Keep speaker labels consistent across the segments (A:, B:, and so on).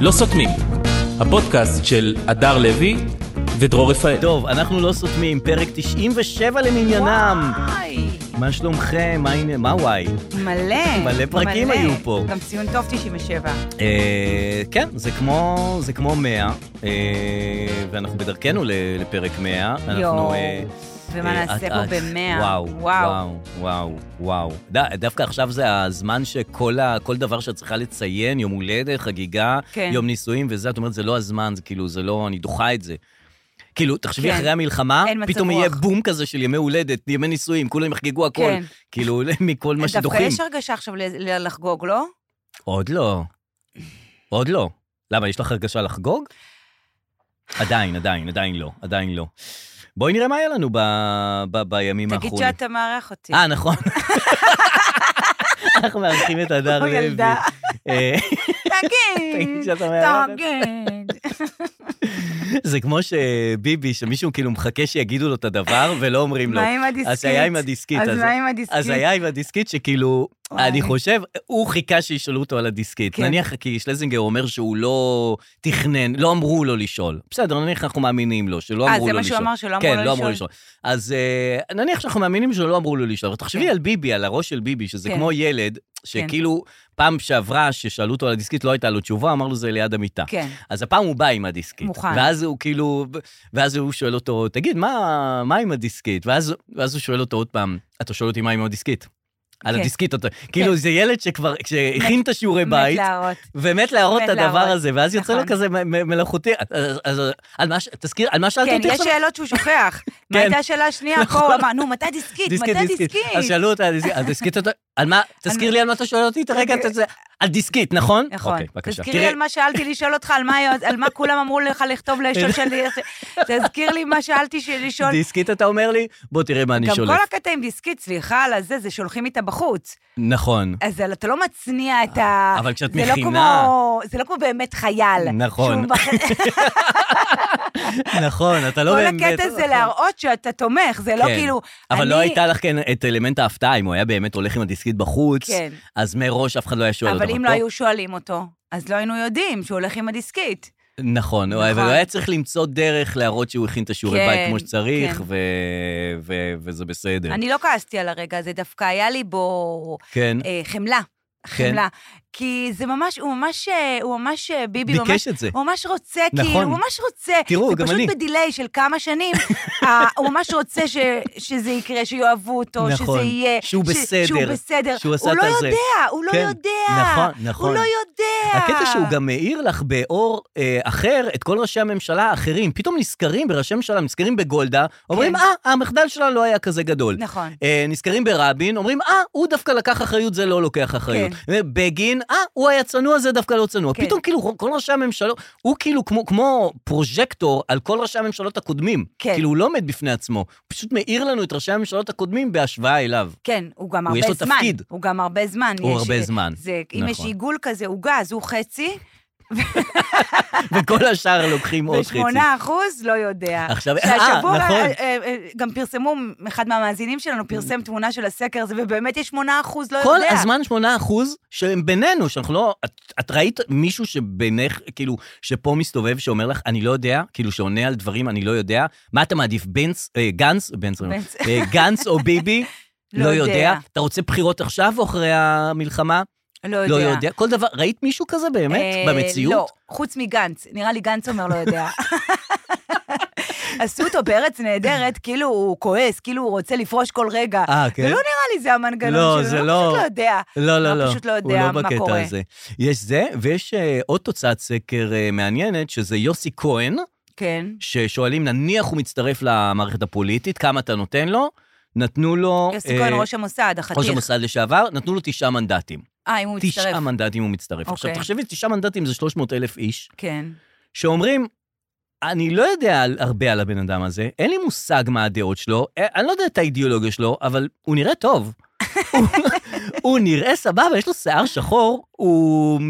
A: לא סותמים, הפודקאסט של הדר לוי ודרור רפאל.
B: טוב, אנחנו לא סותמים, פרק 97 למניינם.
C: וואי,
B: מה שלומכם? מה הנה? מה וואי?
C: מלא.
B: מלא פרקים
C: מלא.
B: היו פה.
C: גם ציון טוב 97.
B: אה, כן, זה כמו, זה כמו 100, אה, ואנחנו בדרכנו ל- לפרק 100. אנחנו,
C: יואו,
B: אה,
C: ומה
B: אה,
C: נעשה
B: את-
C: פה
B: את-
C: במאה?
B: וואו,
C: וואו.
B: וואו, וואו, וואו. ד- דווקא עכשיו זה הזמן שכל ה- כל דבר שאת צריכה לציין, יום הולדת, חגיגה,
C: כן.
B: יום נישואים וזה, את אומרת, זה לא הזמן, זה כאילו, זה לא, אני דוחה את זה. כאילו, תחשבי,
C: כן.
B: אחרי המלחמה,
C: אין מצב
B: פתאום יהיה
C: רוח.
B: בום כזה של ימי הולדת, ימי נישואים, כולם יחגגו הכל.
C: כן.
B: כאילו, מכל מה
C: דווקא
B: שדוחים.
C: יש הרגשה עכשיו ל- ל- לחגוג, לא?
B: עוד לא. עוד לא. למה, יש לך הרגשה לחגוג? עדיין, עדיין, עדיין לא, עדיין לא. בואי נראה מה היה לנו ב... ב... בימים
C: תגיד
B: האחרונים.
C: שאתה מארח אותי.
B: נכון. אה, נכון. אנחנו מארחים את הדר
C: כמו
B: לוי.
C: ילדה.
B: אה, תגיד
C: תגיד,
B: שאתה מארחת.
C: תגיד.
B: זה כמו שביבי, שמישהו כאילו מחכה שיגידו לו את הדבר ולא אומרים לו.
C: מה עם הדיסקית?
B: לא. אז היה עם הדיסקית.
C: אז מה עם הדיסקית?
B: אז היה עם הדיסקית שכאילו,
C: וואי.
B: אני חושב, הוא חיכה שישאלו אותו על הדיסקית.
C: כן.
B: נניח כי שלזינגר אומר שהוא לא תכנן, לא אמרו לו לשאול. בסדר, נניח אנחנו מאמינים לו, שלא
C: אה,
B: לא אמרו לו לשאול.
C: זה מה שהוא אמר, שלא אמרו
B: כן,
C: לו
B: לא אמרו לו
C: לשאול?
B: לשאול. אז אה, נניח שאנחנו מאמינים שלא אמרו לו לשאול, אבל תחשבי
C: כן.
B: על ביבי, על הראש של ביבי, שזה
C: כן.
B: כמו ילד, שכאילו פעם שעברה, ששאלו אותו על הדיסקית, לא הייתה לו תשובה, אמר לו זה ליד המיטה.
C: כן.
B: אז הפעם הוא בא עם הדיסקית.
C: מוכן.
B: ואז הוא כאילו, ואז הוא שואל אותו, תגיד, מה, מה עם הדיסקית? ואז, ואז הוא שואל אותו עוד פעם, אתה שואל אותי מה עם הדיסקית? על
C: כן.
B: הדיסקית, אתה... כאילו, זה ילד שכבר, שהכין את השיעורי
C: מת
B: בית,
C: להראות.
B: ומת להראות את
C: מת
B: הדבר
C: להראות.
B: הזה, ואז יוצא לו
C: נכון.
B: כזה מ- מ- מלאכותי. אז- אז אז- על מה, ש- תזכיר, על מה שאלת
C: כן,
B: אותי
C: יש
B: עכשיו?
C: שאלות שהוא שוכח.
B: כן.
C: מה הייתה השאלה השנייה? פה הוא אמר, נו, מתי דיסקית? מתי
B: נכון. אז
C: דיסקית?
B: שאלו אותה, על הדיסקית, על דיסקית, אתה- על מה, תזכיר לי על מה אתה שואל אותי, תרגע את זה, על דיסקית, נכון?
C: נכון.
B: אוקיי, בבקשה.
C: תזכירי
B: תראי-
C: על מה שאלתי לשאול אותך, על מה היה- על מה כולם אמרו לך לכתוב לשאול שלי. תזכיר לי מה שאלתי שלי לשאול.
B: דיסקית, אתה אומר לי? בוא תראה מה אני
C: גם
B: שולף.
C: כל הקטע עם דיסקית, סליחה על הזה, זה שהולכים איתה בחוץ.
B: נכון.
C: אז אל- אתה לא מצניע את ה...
B: אה, אבל כשאת
C: זה לא
B: מכינה-
C: כמו- זה לא כמו באמת חייל.
B: נכון.
C: שהוא מח-
B: נכון, אתה לא
C: כל
B: באמת...
C: הקטע זה להראות שאתה תומך, זה לא
B: כן.
C: כאילו...
B: אבל
C: אני-
B: לא הייתה לך כן את אלמנט ההפתעה, אם הוא היה באמת הולך עם הדיסקית בחוץ,
C: כן.
B: אז מראש אף אחד לא היה שואל אותו.
C: אבל אם
B: פה-
C: לא היו שואלים אותו, אז לא היינו יודעים שהוא הולך עם הדיסקית.
B: נכון,
C: נכון.
B: אבל הוא היה צריך למצוא דרך להראות שהוא הכין את השיעורי
C: כן,
B: בית כמו שצריך,
C: כן.
B: ו- ו- וזה בסדר.
C: אני לא כעסתי על הרגע הזה, דווקא היה לי בו
B: כן,
C: אה, חמלה.
B: כן.
C: חמלה. כי זה ממש, הוא ממש, אה, הוא ממש, אה, ביבי ממש
B: ביקש את זה.
C: הוא ממש רוצה,
B: נכון.
C: נכון. כאילו, הוא ממש רוצה.
B: תראו, גם אני.
C: זה פשוט בדיליי של כמה שנים, ה- הוא ממש רוצה ש, שזה יקרה, שיאהבו אותו,
B: נכון.
C: שזה יהיה.
B: שהוא
C: ש-
B: בסדר,
C: שהוא בסדר.
B: שהוא עשה
C: הוא
B: את
C: לא
B: הזה.
C: יודע, הוא לא
B: כן,
C: יודע.
B: נכון, נכון.
C: הוא לא יודע.
B: הקטע שהוא גם מאיר לך באור אה, אחר את כל ראשי הממשלה האחרים. פתאום נזכרים בראשי הממשלה, נזכרים בגולדה, אומרים,
C: כן.
B: אה, המחדל שלה לא היה כזה גדול.
C: נכון.
B: אה, נזכרים ברבין, אומרים, אה, הוא דווקא לקח אחריות, זה לא לוקח אחריות. כן. בגין, אה, הוא היה צנוע, זה דווקא לא צנוע. כן.
C: כן.
B: פתאום כאילו כל ראשי הממשלות, הוא כאילו כמו, כמו פרוז'קטור על כל ראשי הממשלות הקודמים.
C: כן.
B: כאילו הוא לא עומד בפני עצמו, הוא פשוט מאיר לנו את ראשי הממשלות הקודמים בהשוואה אליו.
C: כן, הוא גם
B: הוא,
C: הרבה
B: יש לו
C: זמן.
B: תפקיד.
C: הוא גם הרבה זמן.
B: הוא
C: יש- אה,
B: הרבה זמן,
C: זה, אם יש
B: נכון.
C: עיגול כזה עוגה, אז הוא חצי,
B: וכל השאר לוקחים עוד חצי.
C: ושמונה אחוז לא יודע.
B: עכשיו, אה,
C: שהשבוע
B: נכון.
C: אה, אה, אה, גם פרסמו, אחד מהמאזינים שלנו פרסם תמונה של הסקר הזה, ובאמת יש 8 אחוז, לא
B: כל
C: יודע.
B: הזמן 8 אחוז שהם בינינו, שאנחנו לא... את, את ראית מישהו שבינך, כאילו, שפה מסתובב, שאומר לך, אני לא יודע, כאילו, שעונה על דברים, אני לא יודע, מה אתה מעדיף, בנץ, אה, גנץ, בנץ,
C: בנץ.
B: אה, גנץ או ביבי? לא
C: לא
B: יודע.
C: יודע.
B: אתה רוצה בחירות עכשיו או אחרי המלחמה?
C: לא
B: לא יודע. כל דבר, ראית מישהו כזה באמת?
C: אה,
B: במציאות?
C: לא, חוץ מגנץ. נראה לי גנץ אומר לא יודע. עשו אותו בארץ נהדרת, כאילו הוא כועס, כאילו הוא רוצה לפרוש כל רגע.
B: אה, כן?
C: ולא נראה לי זה המנגנון
B: לא,
C: שלו,
B: זה
C: הוא
B: לא-
C: פשוט לא יודע.
B: לא, לא,
C: הוא
B: לא.
C: פשוט לא, לא
B: הוא
C: יודע
B: לא
C: מה
B: בקטע
C: קורה.
B: הזה. יש זה, ויש אה, עוד תוצאת סקר אה, מעניינת, שזה יוסי כהן,
C: כן.
B: ששואלים, נניח הוא מצטרף למערכת הפוליטית, כמה אתה נותן לו? נתנו לו...
C: יוסי כהן,
B: אה,
C: ראש המוסד, החתיך.
B: ראש המוסד לשעבר, נתנו לו תשעה מנדטים.
C: אה, אם הוא
B: תשעה
C: יצטרף.
B: מנדטים הוא מצטרף. עכשיו,
C: אוקיי.
B: תחשבי, תשעה מנדטים זה 300 אלף איש,
C: כן.
B: שאומרים, אני לא יודע על- הרבה על הבן אדם הזה, אין לי מושג מה הדעות שלו, אה, אני לא יודע את האידיאולוגיה שלו, אבל הוא נראה טוב. הוא- הוא נראה סבבה, יש לו שיער שחור, הוא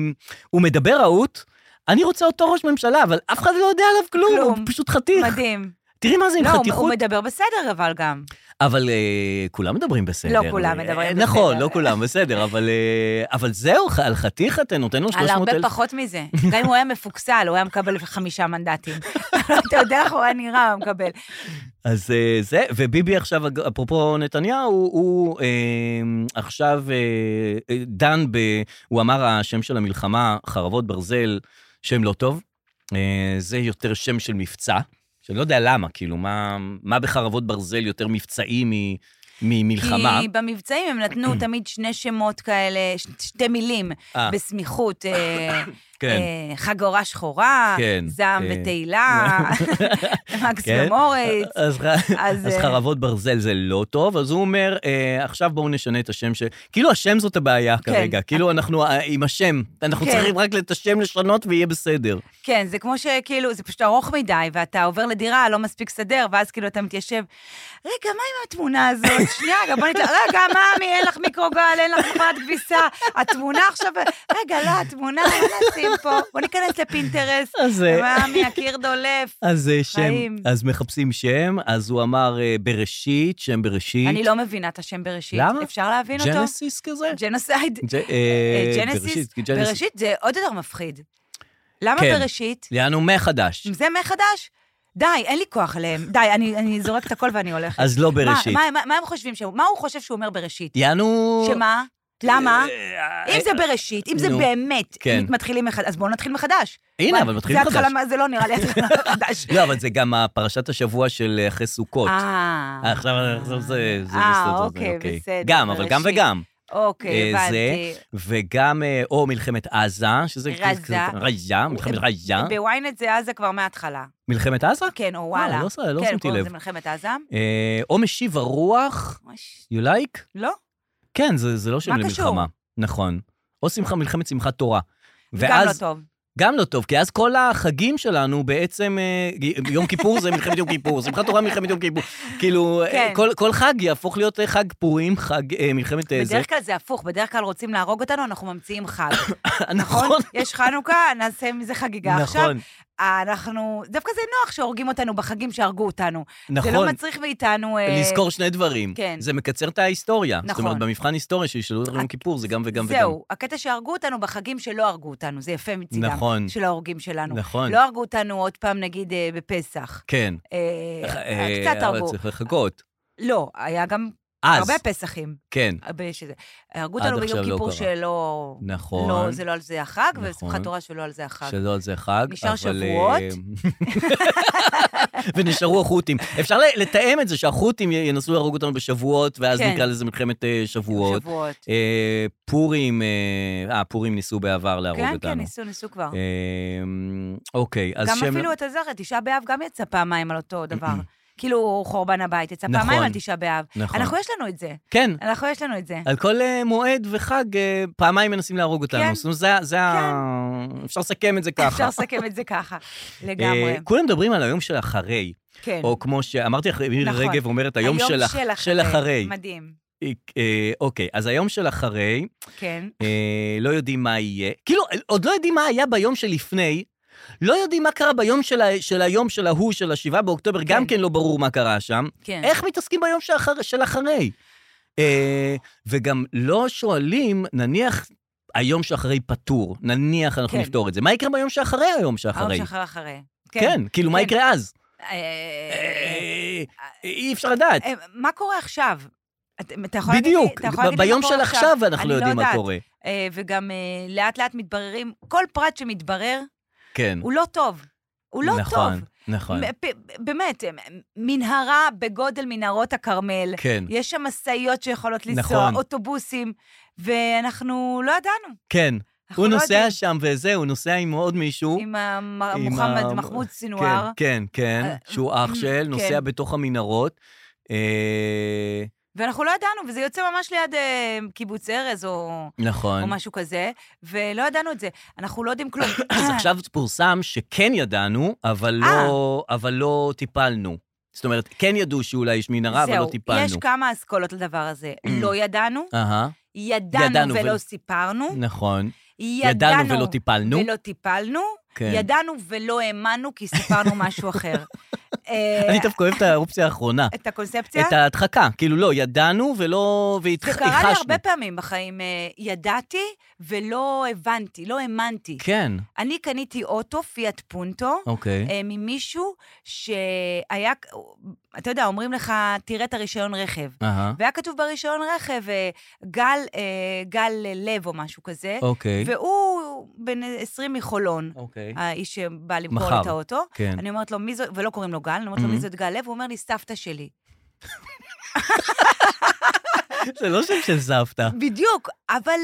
B: הוא מדבר רהוט. אני רוצה אותו ראש ממשלה, אבל אף אחד לא יודע עליו כלום, הוא
C: כלום.
B: פשוט חתיך.
C: מדהים.
B: תראי מה זה עם
C: לא, הוא- הוא
B: חתיכות.
C: מדבר בסדר, אבל גם.
B: אבל אה, כולם מדברים בסדר.
C: לא כולם מדברים
B: אה,
C: בסדר.
B: נכון, לא כולם בסדר, אבל, אה, אבל זהו, ח- על חתיך אתה נותן לו
C: על
B: 300
C: הרבה
B: אלף.
C: פחות מזה. גם אם הוא היה מפוקסל, הוא היה מקבל חמישה מנדטים. אתה יודע איך הוא היה נראה, הוא היה מקבל.
B: אז אה, זה, וביבי עכשיו, אג- אפרופו נתניהו, הוא אה, עכשיו אה, אה, דן ב... הוא אמר השם של המלחמה, חרבות ברזל, שם לא טוב. אה, זה יותר שם של מבצע, שאני לא יודע למה, כאילו, מה, מה בחרבות ברזל יותר מבצעי מ, ממלחמה?
C: כי במבצעים הם נתנו תמיד שני שמות כאלה, ש- שתי מילים,
B: אה,
C: בסמיכות. אה,
B: כן.
C: אה, חגורה שחורה,
B: כן,
C: זעם
B: אה,
C: ותהילה, מקס
B: כן.
C: ומוריץ.
B: אז, ח- אז
C: אז, אה,
B: חרבות ברזל זה לא טוב, אז הוא אומר, אה, עכשיו בואו נשנה את השם ש... כאילו השם זאת הבעיה
C: כן.
B: כרגע, כאילו אנחנו אה, עם השם, אנחנו
C: כן.
B: צריכים רק את השם לשנות ויהיה בסדר.
C: כן, זה כמו שכאילו, זה פשוט ארוך מדי, ואתה עובר לדירה, לא מספיק סדר, ואז כאילו אתה מתיישב, רגע, מה עם התמונה הזאת? שנייה, רגע, בוא נתלה... רגע, מאמי, אין לך מיקרוגל, אין לך מכונת כביסה, התמונה עכשיו... רגע, לא, התמונה, לא נשים פה, בוא ניכנס לפינטרסט.
B: אז, אה,
C: מאמי, הקיר דולף.
B: אז אה, שם,
C: חיים.
B: אז מחפשים שם, אז הוא אמר אה, בראשית, שם בראשית.
C: אני לא מבינה את השם בראשית.
B: למה?
C: אפשר להבין אותו?
B: ג'נסיס כזה?
C: ג'נוסייד.
B: ג'- אה,
C: אה, ג'נסיס.
B: בראשית, ג'נסיס.
C: בראשית זה עוד יותר מפחיד. למה
B: כן.
C: בראשית?
B: יענו מחדש.
C: זה מחדש? די, אין לי כוח אליהם. די, אני, אני זורקת הכל ואני הולכת.
B: אז לא
C: מה-
B: בראשית.
C: מה, מה, מה הם חושבים? שהוא, מה הוא חושב שהוא אומר בראשית?
B: יענו...
C: שמה? למה?
B: אה,
C: אם זה בראשית, אם זה
B: נו,
C: באמת,
B: כן.
C: מת- מתחילים מחדש, אז בואו נתחיל מחדש.
B: הנה,
C: וואי,
B: אבל מתחילים
C: זה התחלה
B: מחדש.
C: מה- זה לא נראה לי התחלה מחדש.
B: לא, אבל זה גם הפרשת השבוע של אה, אחרי סוכות.
C: אה,
B: אה, עכשיו עכשיו זה זה
C: אה,
B: מסתדר,
C: אוקיי, בסדר,
B: גם, אבל גם
C: בראשית.
B: וגם.
C: אוקיי,
B: אה, זה,
C: הבנתי.
B: וגם, אה, או מלחמת עזה, שזה... כאילו
C: רזה. אה,
B: כזה- רזה, מלחמת רזה.
C: בוויינט זה עזה כבר מההתחלה.
B: מלחמת עזה?
C: כן, או
B: אה,
C: וואלה.
B: לא ש- לא
C: כן,
B: שמתי
C: קוראים
B: לב.
C: לזה מלחמת עזה.
B: אה, או משיב הרוח,
C: ממש-
B: you like?
C: לא.
B: כן, זה זה לא שם
C: מה
B: למלחמה.
C: קשור?
B: נכון. או שמחה, מלחמת שמחת תורה.
C: זה גם לא
B: ואז,
C: טוב.
B: גם לא טוב, כי אז כל החגים שלנו בעצם, אה, יום כיפור זה מלחמת יום כיפור, שמחת תורה מלחמת יום כיפור. כאילו, אה,
C: כן.
B: כל- כל חג יהפוך להיות אה, חג פורים, חג אה, מלחמת אה, זה.
C: בדרך כלל זה הפוך, בדרך כלל רוצים להרוג אותנו, אנחנו ממציאים חג.
B: נכון,
C: יש חנוכה, נעשה מזה חגיגה. עכשיו,
B: נכון,
C: אנחנו, דווקא זה נוח שהורגים אותנו בחגים שהרגו אותנו. זה
B: נכון.
C: לא מצריך מאיתנו... אה,
B: לזכור שני דברים.
C: כן.
B: זה מקצר את ההיסטוריה. זאת
C: נכון. אה,
B: אומרת, במבחן היסטוריה שישאלו אותנו יום כיפור, זה גם וגם וגם.
C: זהו, הקטע שהרגו אותנו בחגים שלא הרגו אותנו, זה יפה מצידם.
B: נכון.
C: של ההורגים שלנו.
B: נכון.
C: לא הרגו אותנו עוד פעם, נגיד, אה, בפסח.
B: כן.
C: אה,
B: אה,
C: קצת
B: אבל
C: הרגו.
B: צריך לחכות.
C: לא, היה גם
B: אז,
C: הרבה פסחים.
B: כן.
C: הרבה שזה. הרגו
B: עד
C: אותנו
B: עכשיו
C: ביום
B: לא
C: כיפור
B: קרה.
C: שלא...
B: נכון.
C: לא, זה לא על זה החג,
B: נכון.
C: ושמחת תורה שלא על זה החג.
B: שלא על זה חג,
C: נשאר
B: אבל...
C: שבועות.
B: אה, ונשארו החות'ים. אפשר ל- לתאם את זה, שהחות'ים י- ינסו להרוג אותנו בשבועות, ואז
C: כן.
B: נקרא לזה מלחמת אה, שבועות.
C: שבועות.
B: אה, פורים, אה, אה, פורים ניסו בעבר להרוג
C: כן, כן,
B: אותנו.
C: ניסו, ניסו כבר.
B: אה, אוקיי, אז
C: גם
B: שם...
C: אפילו, אתה זוכר, תשעה באב גם יצא פעמיים על אותו דבר. כאילו, חורבן הבית, יצא
B: נכון.
C: פעמיים על תשעה באב.
B: נכון.
C: אנחנו, יש לנו את זה.
B: כן,
C: אנחנו, יש לנו את זה.
B: על כל אה, מועד וחג, אה, פעמיים מנסים להרוג אותנו.
C: כן.
B: זאת אומרת, זה, ה- זה ה... אפשר לסכם את זה ככה.
C: אפשר לסכם את זה ככה,
B: אה,
C: לגמרי.
B: כולם מדברים על היום של אחרי,
C: כן.
B: או כמו שאמרתי, אחרי, מירי
C: נכון.
B: רגב אומרת, היום של אח- של אחרי.
C: מדהים,
B: אה, אוקיי, אז היום של אחרי,
C: כן.
B: אה, לא יודעים מה יהיה. כאילו, עוד לא יודעים מה היה ביום שלפני, לא יודעים מה קרה ביום של, ה... של היום של ההוא, של השבעה באוקטובר, גם כן לא ברור מה קרה שם.
C: כן.
B: איך מתעסקים ביום שאחר... של אחרי? אה, וגם לא שואלים, נניח היום שאחרי פטור, נניח אנחנו
C: כן.
B: נפתור את זה, מה יקרה ביום שאחרי היום שאחרי?
C: היום שאחרי אחרי.
B: כן, כאילו, מה
C: כן.
B: יקרה אז?
C: אה,
B: אה, אי אפשר לדעת.
C: אה, מה קורה עכשיו? אתה אתה יכול להגיד לי-
B: בדיוק,
C: אתה יכול להגיד
B: ב-
C: לי מה
B: ביום
C: קורה
B: של עכשיו אנחנו
C: אני
B: לא
C: לא
B: יודעים מה
C: יודעת.
B: קורה.
C: אה, וגם אה, לאט לאט מתבררים, כל פרט שמתברר
B: כן.
C: הוא לא טוב. הוא לא
B: נכון,
C: טוב.
B: נכון,
C: מ- ב- באמת, מנהרה בגודל מנהרות הכרמל.
B: כן,
C: יש שם משאיות שיכולות לנסוע,
B: נכון.
C: אוטובוסים, ואנחנו לא ידענו.
B: כן.
C: אנחנו
B: הוא
C: לא
B: נוסע
C: יודעים.
B: שם וזה, הוא נוסע עם עוד מישהו.
C: עם
B: עם
C: המ-
B: ה-
C: מוחמד מחמוד סנוואר.
B: כן, כן, כן,
C: אה,
B: שהוא אח של, נוסע
C: כן.
B: בתוך המנהרות. אה,
C: ואנחנו לא ידענו, וזה יוצא ממש ליד אה, קיבוץ ארז או,
B: נכון.
C: או משהו כזה, ולא ידענו את זה. אנחנו לא יודעים כלום.
B: אז עכשיו פורסם שכן ידענו, אבל
C: אה.
B: לא, אבל לא טיפלנו. זאת אומרת, כן ידעו שאולי יש מנהרה, אבל לא
C: זהו, יש
B: טיפלנו.
C: כמה אסכולות לדבר הזה. לא ידענו,
B: אהה,
C: ידענו
B: ידענו
C: ולא
B: ו-
C: סיפרנו,
B: נכון.
C: ידענו
B: ידענו ולא טיפלנו.
C: ולא טיפלנו,
B: כן.
C: ידענו ולא האמנו כי ספרנו משהו אחר. אה,
B: אני דווקא אוהב את האופציה האחרונה.
C: את הקונספציה?
B: את ההדחקה. כאילו, לא, ידענו ולא...
C: זה
B: והתחשנו.
C: קרה לי הרבה פעמים בחיים, אה, ידעתי ולא הבנתי, לא האמנתי.
B: כן,
C: אני קניתי אוטו, פיאט פונטו,
B: אוקיי.
C: אה, ממישהו שהיה, אתה יודע, אומרים לך, תראה את הרישיון רכב.
B: אהה,
C: והיה כתוב ברישיון רכב אה, גל, אה, גל לב או משהו כזה,
B: אוקיי.
C: והוא בן 20 מחולון,
B: אוקיי.
C: האיש שבא למכור
B: מחר.
C: את האוטו.
B: כן.
C: אני אומרת לו, מי זאת, ולא קוראים לו גל, אני אומרת לו,
B: Mhm.
C: מי זאת גל לב? הוא אומר לי, סבתא שלי.
B: זה לא שם של סבתא.
C: בדיוק, אבל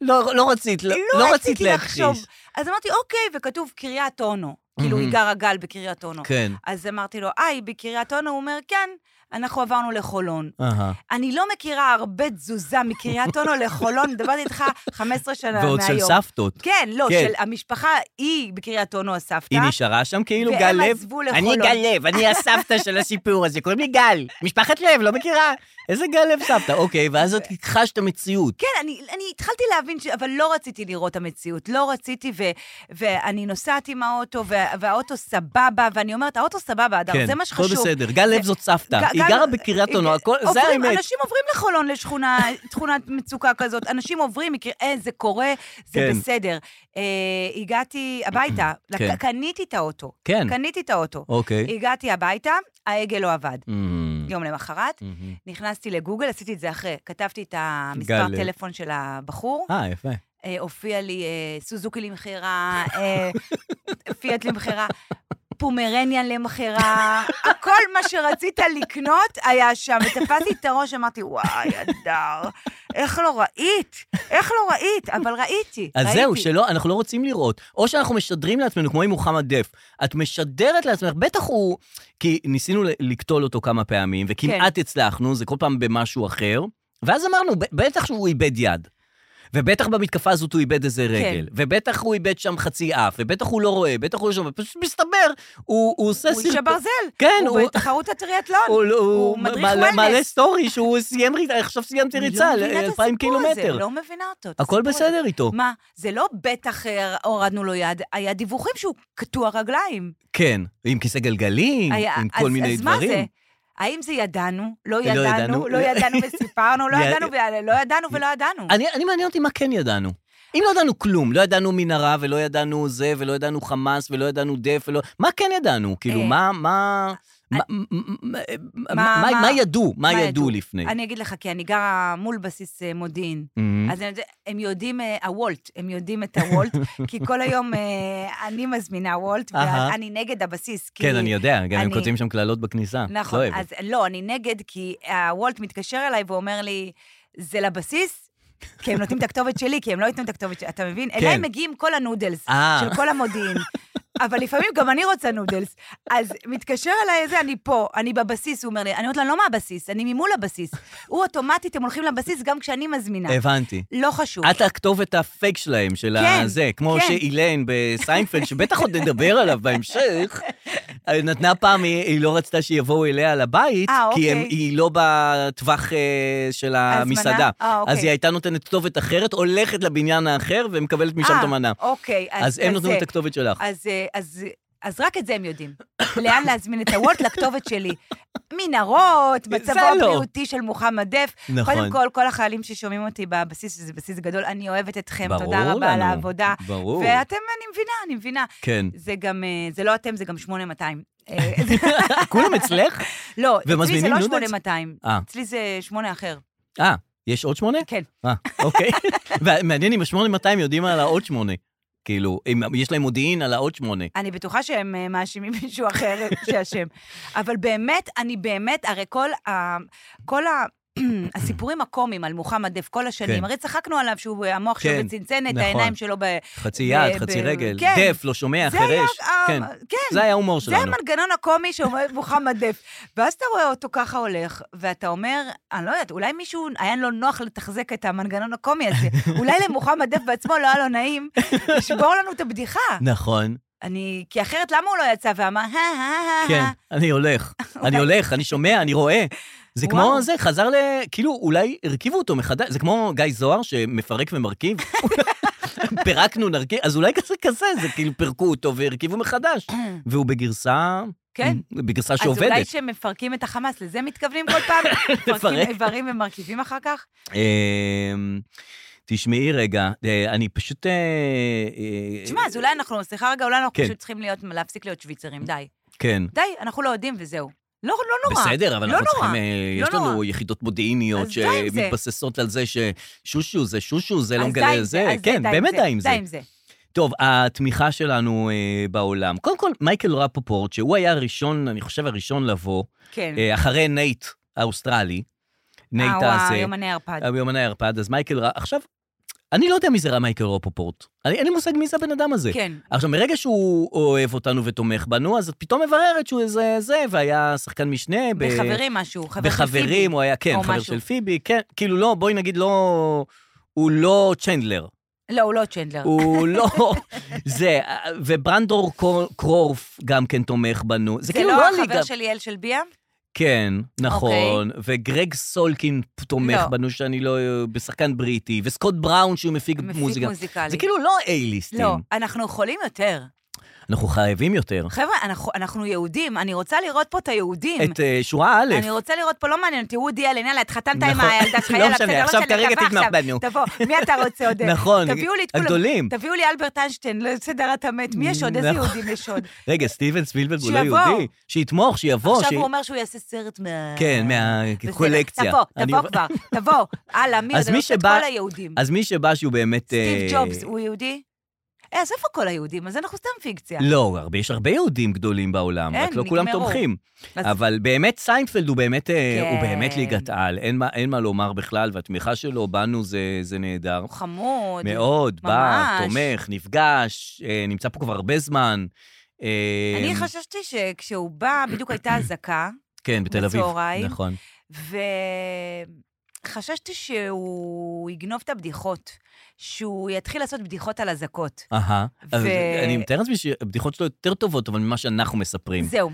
B: לא לא רצית, לא לא רצית
C: רציתי לחשוב.
B: להכחיש.
C: אז אמרתי, אוקיי, וכתוב קריית אונו. כאילו, היא
B: Mhm.
C: גרה גל בקריית אונו.
B: כן.
C: אז אמרתי לו, אה, היא בקריית אונו? הוא אומר, כן, אנחנו עברנו לחולון.
B: אהה.
C: אני לא מכירה הרבה תזוזה מקריית אונו לחולון, מדברת איתך 15 שנה מהיום.
B: ועוד של סבתות.
C: כן, לא,
B: כן.
C: של המשפחה, היא בקריית אונו הסבתא.
B: היא נשארה שם כאילו גל
C: והם
B: לב?
C: עזבו לחולון.
B: אני גל לב, אני הסבתא של הסיפור הזה, קוראים לי גל. משפחת לב, לא מכירה. איזה גל לב סבתא. אוקיי, ואז את הכחשת המציאות.
C: כן, אני, אני התחלתי להבין, ש... אבל לא רציתי לראות את המציאות, לא רציתי, ו... ואני נוסעת עם האוטו, ו... והאוטו סבבה, ואני אומרת, האוטו סבבה, אדר, זה מה שחשוב.
B: כן, הכל בסדר. גל לב זאת סבתא.
C: ג-
B: היא
C: גל- אה,
B: גרה בקריית אונו, הכל, זה
C: עוברים-
B: האמת.
C: אנשים עוברים לחולון לשכונה, תכונת מצוקה כזאת, אנשים עוברים, מכיר, אה, זה קורה, זה
B: כן.
C: בסדר. אה, הגעתי הביתה, לק-
B: כן.
C: קניתי את האוטו.
B: כן.
C: קניתי את האוטו.
B: אוקיי.
C: הגעתי הביתה, ההגה לא עבד.
B: אמ,
C: יום למחרת,
B: אמ.
C: נכנסתי לגוגל, עשיתי את זה אחרי, כתבתי את המספר
B: גל, אה.
C: טלפון של הבחור,
B: אה, יפה.
C: אה, הופיע לי אה, סוזוקי למכירה, אה, פיאט למכירה, פומרניאן למכירה, הכל מה שרצית לקנות היה שם. ותפסתי את הראש, אמרתי, וואי, אדר, איך לא ראית? איך לא ראית? אבל ראיתי,
B: אז
C: ראיתי.
B: זהו, שלא, אנחנו לא רוצים לראות. או שאנחנו משדרים לעצמנו, כמו עם מוחמד דף. את משדרת לעצמך, בטח הוא... כי ניסינו ל- לקטול אותו כמה פעמים, וכמעט
C: כן.
B: הצלחנו, זה כל פעם במשהו אחר, ואז אמרנו, "ב- בטח שהוא איבד יד. ובטח במתקפה הזאת הוא איבד איזה
C: כן.
B: רגל, ובטח הוא איבד שם חצי אף, ובטח הוא לא רואה, בטח הוא לא שומע, פשוט מסתבר, הוא הוא עושה
C: הוא איש הברזל,
B: כן,
C: הוא
B: הוא-
C: בתחרות הטריאטלון.
B: הוא לא-
C: הוא
B: הוא
C: מדריך
B: מעלה-
C: וולנס.
B: מעלה סטורי שהוא סיים ריצה, עכשיו סיימתי
C: אני לא
B: ריצה,
C: מבינה את הסיפור
B: 2,000
C: הזה,
B: קילומטר.
C: לא מבינה אותו. את
B: הכל
C: הסיפור הזה.
B: בסדר איתו.
C: מה, זה לא בטח אה, הורדנו לו יד, היה דיווחים שהוא קטוע רגליים.
B: כן, עם כיסא גלגלים,
C: היה-
B: עם
C: אז-
B: כל מיני
C: אז מה זה?
B: דברים.
C: האם זה ידענו, לא
B: לא ידענו.
C: ידענו, לא ידענו וסיפרנו, לא
B: יא-
C: ידענו ולא ידענו ולא ידענו.
B: אני, אני מעניין אותי מה כן ידענו. אם לא ידענו כלום, לא ידענו מנהרה, ולא ידענו זה, ולא ידענו חמאס, ולא ידענו דף, ולא... מה כן ידענו? כאילו,
C: אה,
B: מה... מה... מה- מה- מה
C: מה-
B: מה ידעו? מה
C: מה
B: ידעו
C: ידעו?
B: לפני?
C: אני אגיד לך, כי אני גרה מול בסיס אה, מודיעין.
B: מהמם.
C: אז אני יודע- הם יודעים, אה, הוולט, הם יודעים את הוולט, כי כל היום אה, אני מזמינה וולט,
B: אהה.
C: ואני נגד הבסיס. כי-
B: כן, אני יודע, גם הם
C: אני-
B: כותבים שם קללות בכניסה.
C: נכון,
B: לא אוהבת.
C: אז לא, אני נגד, כי הוולט מתקשר אליי ואומר לי, זה לבסיס? כי הם נותנים את הכתובת שלי, כי הם לא ייתנו את הכתובת שלי, אתה מבין? אליי מגיעים כל הנודלס
B: כן. אה.
C: של כל המודיעין. אבל לפעמים גם אני רוצה נודלס. אז מתקשר אליי איזה, אני פה, אני בבסיס, הוא אומר לי, אני אומרת לו, לא מהבסיס, אני ממול הבסיס. הוא אוטומטית, הם הולכים לבסיס גם כשאני מזמינה.
B: הבנתי.
C: לא חשוב.
B: את הכתובת הפייק שלהם, של
C: כן,
B: הזה, כמו
C: כן.
B: שאילן בסיינפלד, שבטח עוד נדבר עליו בהמשך, אה, נתנה פעם, היא היא לא רצתה שיבואו אליה לבית,
C: אה,
B: כי הם-
C: אוקיי.
B: היא לא בטווח אה, של המסעדה.
C: אה,
B: אז
C: אוקיי.
B: היא הייתה נותנת כתובת אחרת, הולכת לבניין האחר ומקבלת משם
C: אה,
B: את המנה.
C: אוקיי.
B: אז הם נותנים
C: זה.
B: את הכתובת שלך.
C: אז, אה, אז, אז רק את זה הם יודעים. לאן להזמין את הוולט לכתובת שלי. מנהרות,
B: זה
C: מצבו
B: לא.
C: הבריאותי של מוחמד דף.
B: נכון.
C: קודם כל, כל החיילים ששומעים אותי בבסיס, שזה בסיס גדול, אני אוהבת אתכם,
B: ברור
C: תודה רבה על
B: לנו,
C: העבודה.
B: ברור.
C: ואתם, אני מבינה, אני מבינה.
B: כן.
C: זה גם, אה, זה לא אתם, זה גם 8200. אה,
B: כולם אצלך?
C: לא, אצלי זה
B: ומזמינים
C: לא
B: נודלס?
C: 8200,
B: אה.
C: אצלי זה שמונה אחר.
B: אה, יש עוד שמונה?
C: כן.
B: אה, אוקיי. ומעניין אם ה-8200 יודעים על העוד שמונה. כאילו, אם יש להם מודיעין על העוד שמונה.
C: אני בטוחה שהם אה, מאשימים מישהו אחר שאשם. אבל באמת, אני באמת, הרי כל, ה, כל ה, הסיפורים הקומיים על מוחמד דף כל השנים,
B: כן.
C: כן. הרי צחקנו עליו שהוא, אה, המוח שלו
B: כן,
C: בצנצנת,
B: נכון.
C: העיניים שלו ב...
B: חצי
C: ב-
B: יד,
C: ב-
B: חצי רגל,
C: כן.
B: דף, לא שומע,
C: זה היה,
B: חירש.
C: ה-
B: כן.
C: כן.
B: זה היה ההומור
C: זה
B: שלנו.
C: המנגנון הקומי שאומר מוחמד דף. ואז אתה רואה אותו ככה הולך, ואתה אומר, אני לא יודעת, אולי מישהו היה לו נוח לתחזק את המנגנון הקומי הזה. אולי למוחמד דף בעצמו לא היה לו נעים לשבור לנו את הבדיחה.
B: נכון,
C: אני, כי אחרת למה הוא לא יצא ואמר, הא, הא, הא,
B: כן,
C: הא.
B: אני הולך, אני הולך, אני שומע, אני רואה. זה כמו
C: אוקיי. וואו.
B: זה, חזר ל... כאילו, אולי הרכיבו אותו מחדש, זה כמו גיא זוהר שמפרק ומרכיב. פירקנו נרקיב, אז אולי כזה כזה, זה כאילו פירקו אותו והרכיבו מחדש. והוא בגרסה...
C: אה. כן.
B: בגרסה
C: אז אולי
B: שעובדת.
C: כשהם מפרקים את החמאס, לזה מתכוונים כל פעם?
B: לפרק. אה,
C: מפרקים איברים ומרכיבים אחר כך?
B: אמ, תשמעי רגע, אה, אני פשוט... אה, אה,
C: תשמע, אז אולי אנחנו, סליחה רגע, אולי אנחנו
B: כן.
C: פשוט צריכים להיות, להפסיק להיות שוויצרים, די.
B: כן.
C: די, אנחנו לא יודעים וזהו. לא לא נורא.
B: בסדר, אבל
C: לא
B: אנחנו
C: נורא.
B: צריכים... אה, יש
C: לא
B: לנו
C: נורא.
B: יחידות מודיעיניות
C: אז די עם זה.
B: שמתבססות על זה ששושו זה שושו, זה לא
C: אז די עם
B: מגלה זה.
C: אז
B: כן,
C: די עם
B: באמת די עם זה.
C: די עם זה.
B: טוב, התמיכה שלנו אה, בעולם. קודם כל, מייקל רפפורט, שהוא היה הראשון, אני חושב הראשון לבוא,
C: כן.
B: אה, אחרי נייט האוסטרלי, נייט
C: אה, וואו,
B: הזה,
C: יומני ערפד.
B: יומני הערפד, אז מייקל... ר- עכשיו, אני לא יודע מי זה רע מייקל רפפורט. אני- אין לי מושג מי זה הבן אדם הזה.
C: כן.
B: עכשיו, מרגע שהוא אוהב אותנו ותומך בנו, אז את פתאום מבררת שהוא איזה זה, והיה שחקן משנה ב...
C: בחברים משהו, חבר של פיבי.
B: בחברים, הוא היה, כן,
C: או
B: חבר
C: משהו.
B: של פיבי, כן, כאילו לא, בואי נגיד לא, הוא לא צ'נדלר,
C: לא, הוא לא צ'נדלר.
B: הוא לא, זה, וברנדור קור- קרורף גם כן תומך בנו, זה
C: זה
B: כאילו
C: לא
B: לא
C: החבר
B: הליגה,
C: של ליאל של ביה?
B: כן, נכון, וגרג סולקין תומך
C: לא.
B: בנו, שאני לא, בשחקן בריטי, וסקוט בראון שהוא מפיק
C: מפיק
B: מוזיקה,
C: מוזיקלי.
B: זה כאילו לא אייליסטים,
C: לא, אנחנו יכולים יותר.
B: אנחנו חייבים יותר,
C: חבר'ה, אנחנו- אנחנו יהודים, אני רוצה לראות פה את היהודים.
B: את אה, שורה א',
C: אני רוצה לראות פה, לא מעניין אותי, וודי אלן, יאללה, התחתנת עם
B: נכון.
C: הילדה שלך,
B: לא
C: יאללה,
B: משנה,
C: בסדר, לא
B: עכשיו
C: משנה,
B: כרגע
C: תבוא
B: תתמוך
C: עכשיו,
B: בנו.
C: תבוא, מי אתה רוצה עוד?
B: נכון,
C: תביאו לי את כולם.
B: הגדולים.
C: תביאו לי אלברט איינשטיין, לא, בסדר, אתה מת, מי יש עוד? איזה
B: נכון.
C: יהודים יש עוד?
B: רגע, סטיבן ספילברג הוא לא
C: שיבוא.
B: יהודי, שיתמוך, שיבוא,
C: עכשיו
B: שי-
C: הוא אומר שהוא יעשה סרט מה...
B: כן,
C: בסדר,
B: מהקולקציה.
C: תבוא,
B: אני-
C: תבוא כבר, תבוא. הלאה, מי עוד?
B: אז
C: אני
B: מי
C: רוצה את
B: שבא-
C: כל היהודים.
B: אז מי שבא שהוא באמת... אה,
C: סטיב ג'ובס הוא יהודי? אה, אז איפה כל היהודים? אז אנחנו סתם פיקציה.
B: לא, הרבה- יש הרבה יהודים גדולים בעולם,
C: אין,
B: רק לא כולם
C: כן, נגמרו.
B: תומכים.
C: אז-
B: אבל באמת סיינפלד הוא באמת, אה, הוא
C: כן.
B: באמת ליגת על, אין מה- אין מה לומר בכלל, והתמיכה שלו בנו זה זה נהדר.
C: הוא חמוד.
B: מאוד, בא,
C: ממש.
B: תומך, נפגש, אה, נמצא פה כבר הרבה זמן. אה,
C: אני חששתי שכשהוא בא, בדיוק הייתה אזעקה,
B: כן, בתל אביב.
C: בצהריים.
B: נכון.
C: וחששתי שהוא יגנוב את הבדיחות, שהוא יתחיל לעשות בדיחות על אזעקות.
B: אהה.
C: ו-
B: אז אני מתאר לעצמי שהבדיחות שלו יותר טובות, אבל ממה שאנחנו מספרים.
C: זהו,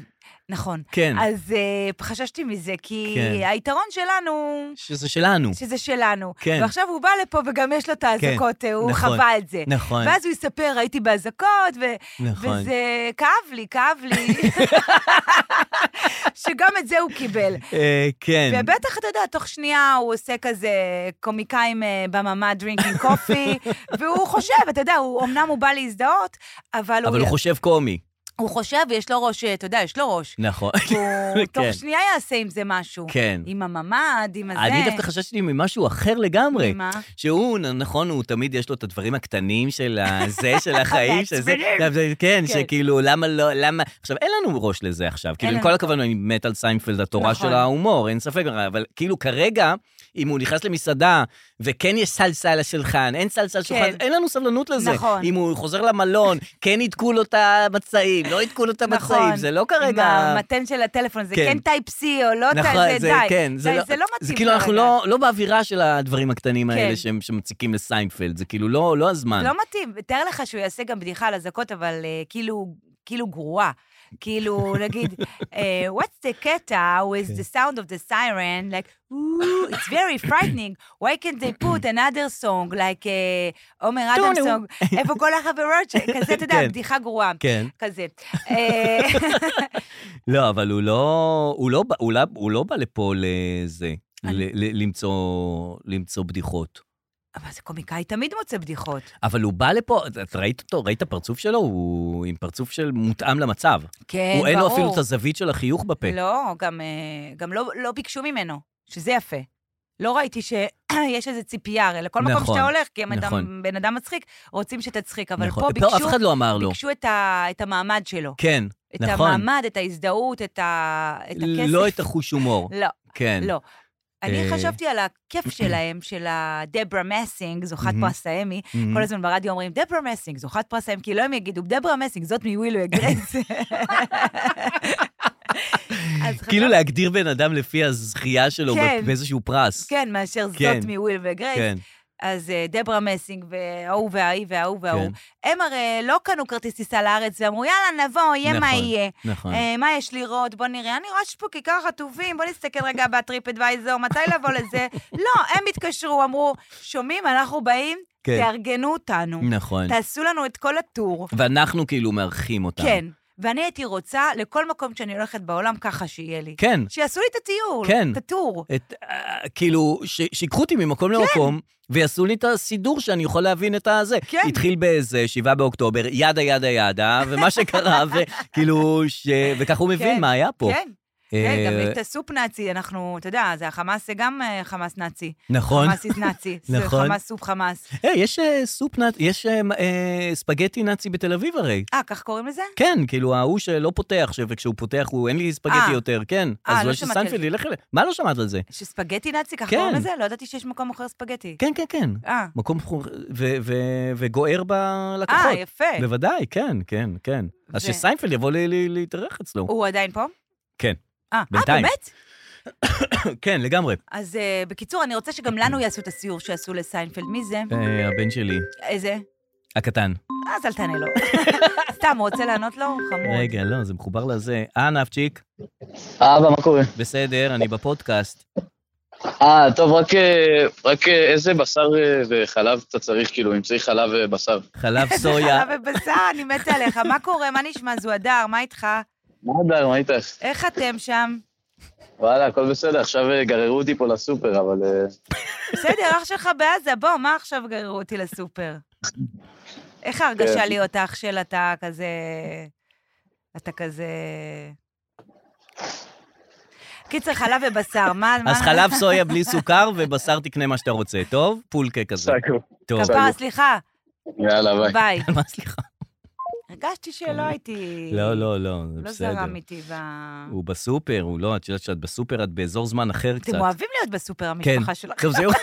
C: נכון.
B: כן,
C: אז אה, חששתי מזה, כי
B: כן.
C: היתרון שלנו,
B: שזה שלנו.
C: שזה שלנו.
B: כן.
C: ועכשיו הוא בא לפה וגם יש לו את האזעקות, אה, הוא
B: נכון,
C: חווה את זה.
B: נכון,
C: ואז הוא יספר, הייתי באזעקות, ו...
B: נכון.
C: וזה כאב לי, כאב לי, שגם את זה הוא קיבל.
B: אה, כן.
C: ובטח, אתה יודע, תוך שנייה הוא עושה כזה קומיקאים אה, בממה דרינקינג קופי, והוא חושב, אתה יודע, הוא, אמנם הוא בא להזדהות, אבל,
B: אבל הוא חושב קומי.
C: הוא חושב, ויש לו ראש, אה, אתה יודע, יש לו ראש.
B: נכון.
C: הוא תוך
B: כן.
C: שנייה יעשה עם זה משהו.
B: כן.
C: עם הממ"ד, עם הזה.
B: אני דווקא חששתי ממשהו אחר לגמרי.
C: מה?
B: שהוא, נ- נכון, הוא תמיד יש לו את הדברים הקטנים של הזה, של החיים, של זה,
C: מעצבנים.
B: גם זה- כן,
C: כן.
B: שכאילו, למה לא, למה... עכשיו, אין לנו ראש לזה עכשיו, כאילו, עם
C: לנו.
B: כל הכבוד, אני מת על סיינפלד, התורה
C: נכון.
B: של ההומור, אין ספק, אבל כאילו, כרגע, אם הוא נכנס למסעדה, וכן יש סלסה על השולחן, אין סלסה על השולחן,
C: כן.
B: אין לנו סבלנות לזה.
C: נכון.
B: אם הוא חוזר למלון, כן ידקו לו את המצעים, לא ידקו לו את המצעים, זה לא כרגע...
C: נכון. עם המתן של הטלפון, זה
B: כן.
C: כן טייפ C או לא טייפ,
B: נכון,
C: זה
B: זה,
C: די.
B: כן, זה
C: די,
B: לא-
C: זה לא מתאים
B: זה כאילו, אנחנו
C: כרגע.
B: לא, לא באווירה של הדברים הקטנים
C: כן.
B: האלה שהם, שמציקים לסיינפלד, זה כאילו לא, לא הזמן.
C: לא מתאים. תאר לך שהוא יעשה גם בדיחה על אזעקות, אבל אה, כאילו, כאילו גרועה. כאילו, נגיד, אה, what's the קטע
B: כן.
C: with the sound of the siren, like, "Ooh, it's very frightening, why can't they put another song, like אה, עומר
B: טונו.
C: אדם סונג, איפה כל החברות, ש-" כזה, אתה יודע,
B: כן.
C: בדיחה גרועה.
B: כן.
C: כזה. אה,
B: לא, אבל הוא לא, הוא לא, בא- הוא לא, הוא לא בא לפה לזה,
C: אני-
B: ל, ל, למצוא, למצוא בדיחות.
C: אבל זה קומיקאי תמיד מוצא בדיחות.
B: אבל הוא בא לפה, את- את ראית אותו, ראית את הפרצוף שלו? הוא עם פרצוף של מותאם למצב.
C: כן,
B: הוא
C: ברור.
B: אין לו אפילו את הזווית של החיוך בפה.
C: לא, גם, אה, גם לא, לא ביקשו ממנו, שזה יפה. לא ראיתי שיש איזו ציפייה, הרי לכל מקום
B: נכון,
C: שאתה הולך, כי אם
B: נכון.
C: אדם, בן אדם מצחיק, רוצים שתצחיק, אבל
B: נכון.
C: פה ביקשו,
B: אף אחד לא אמר לו.
C: ביקשו את, ה, את המעמד שלו.
B: כן,
C: את
B: נכון.
C: המעמד, את ההזדהות, את, ה, את הכסף.
B: לא את החוש הומור.
C: לא,
B: כן.
C: לא. אני
B: אה.
C: חשבתי על הכיף שלהם, של הדברה מסינג, זוכת
B: מהמם.
C: פרס האמי,
B: מהמם.
C: כל הזמן ברדיו אומרים, דברה מסינג, זוכת פרס האמי, כי לא הם יגידו, דברה מסינג, זאת מווילו הגרייס. אז
B: כאילו להגדיר בן אדם לפי הזכייה שלו
C: כן.
B: באיזשהו פרס.
C: כן, מאשר
B: כן.
C: זאת מוויל וגרייס.
B: כן.
C: אז אה, דברה מסינג, וההוא וההיא וההוא וההוא,
B: כן.
C: הם הרי לא קנו כרטיס טיסה לארץ ואמרו, יאללה, נבוא, יהיה מה
B: נכון,
C: יהיה.
B: נכון.
C: אה, מה יש לראות? בוא נראה. אני רואה שיש פה כיכר חטובים, בוא נסתכל רגע בטריפ אדוויזור, מתי לבוא לזה? לא, הם התקשרו, אמרו, שומעים, אנחנו באים,
B: כן.
C: תארגנו אותנו.
B: נכון.
C: תעשו לנו את כל הטור.
B: ואנחנו כאילו מארחים אותם.
C: כן. ואני הייתי רוצה, לכל מקום שאני הולכת בעולם, ככה שיהיה לי.
B: כן.
C: שיעשו לי את הטיול,
B: כן.
C: את הטור.
B: את, אה, כאילו, ש- שיקחו אותי ממקום
C: כן.
B: למקום, ויעשו לי את הסידור שאני יכול להבין את הזה.
C: כן.
B: התחיל באיזה 7 באוקטובר, ידה ידה ידה, ומה שקרה, וכאילו, ש... וככה הוא מבין
C: כן,
B: מה היה פה. אה,
C: כן, כן, גם את הסופ נאצי, אנחנו, אתה יודע, זה החמאס זה גם אה, חמאס נאצי.
B: נכון.
C: חמאסית נאצי. זה
B: נכון.
C: חמאס סופ חמאס.
B: היי, יש אה, סופ נאצ... יש אה, אה, ספגטי נאצי בתל אביב הרי.
C: אה, כך קוראים לזה?
B: כן, כאילו ההוא שלא פותח, ש- וכשהוא פותח הוא אין לי ספגטי
C: אה.
B: יותר, כן.
C: אה,
B: אז
C: לא
B: אולי
C: שמעתי על
B: שסנפלד
C: זה.
B: ילך אליה. מה לא שמעת על זה?
C: שספגטי נאצי, כך
B: כן.
C: קוראים לזה? לא ידעתי שיש מקום אחר ספגטי.
B: כן, כן, כן.
C: אה,
B: מקום חור... ו- ו- וגוער בלקוחות.
C: אה, יפה.
B: בוודאי, כן, כן, כן. אז
C: ו-
B: שסיינפלד יבוא ל- ל- להתארח אצלו.
C: הוא עדיין פה?
B: כן,
C: אה, אה,
B: בינתיים.
C: באמת?
B: כן, לגמרי.
C: אז אה, בקיצור, אני רוצה שגם לנו יעשו את הסיור שעשו לסיינפלד. מי זה?
B: אה, הבן שלי,
C: איזה?
B: הקטן.
C: אז אל תענה לו. סתם, הוא רוצה לענות לו? הוא חמוד.
B: רגע, לא, זה מחובר לזה. אה, נפצ'יק,
D: אבא, מה קורה?
B: בסדר, אני בפודקאסט.
D: אה, טוב, רק, אה, רק אה, איזה בשר אה, וחלב אתה צריך, כאילו, אם צריך חלב ובשר.
B: חלב סויה.
C: חלב ובשר, אני מתה עליך. מה קורה? מה נשמע? זוהדר, מה איתך?
D: מה אדר, מה איתך?
C: איך אתם שם?
D: וואלה, הכל בסדר, עכשיו אה, גררו אותי פה לסופר, אבל... אה,
C: בסדר, אח שלך בעזה, בוא, מה עכשיו גררו אותי לסופר? איך ההרגשה
D: כן.
C: להיות אח של אתה כזה... אתה כזה... קיצר, חלב ובשר, מה... מה-
B: אז חלב סויה בלי סוכר ובשר תקנה מה שאתה רוצה, טוב? פולקה כזה.
D: סגור.
B: טוב.
C: אה, כפרה, סליחה,
D: יאללה, ביי.
C: ביי.
B: מה סליחה?
C: הרגשתי שלא הייתי...
B: לא, לא, לא, זה
C: לא
B: בסדר.
C: זרם איתי ב...
B: הוא בסופר, הוא לא, את יודעת שאת בסופר, את באזור זמן אחר קצת. כן.
C: אתם אוהבים להיות בסופר, המשפחה שלכם.
B: טוב, זהו.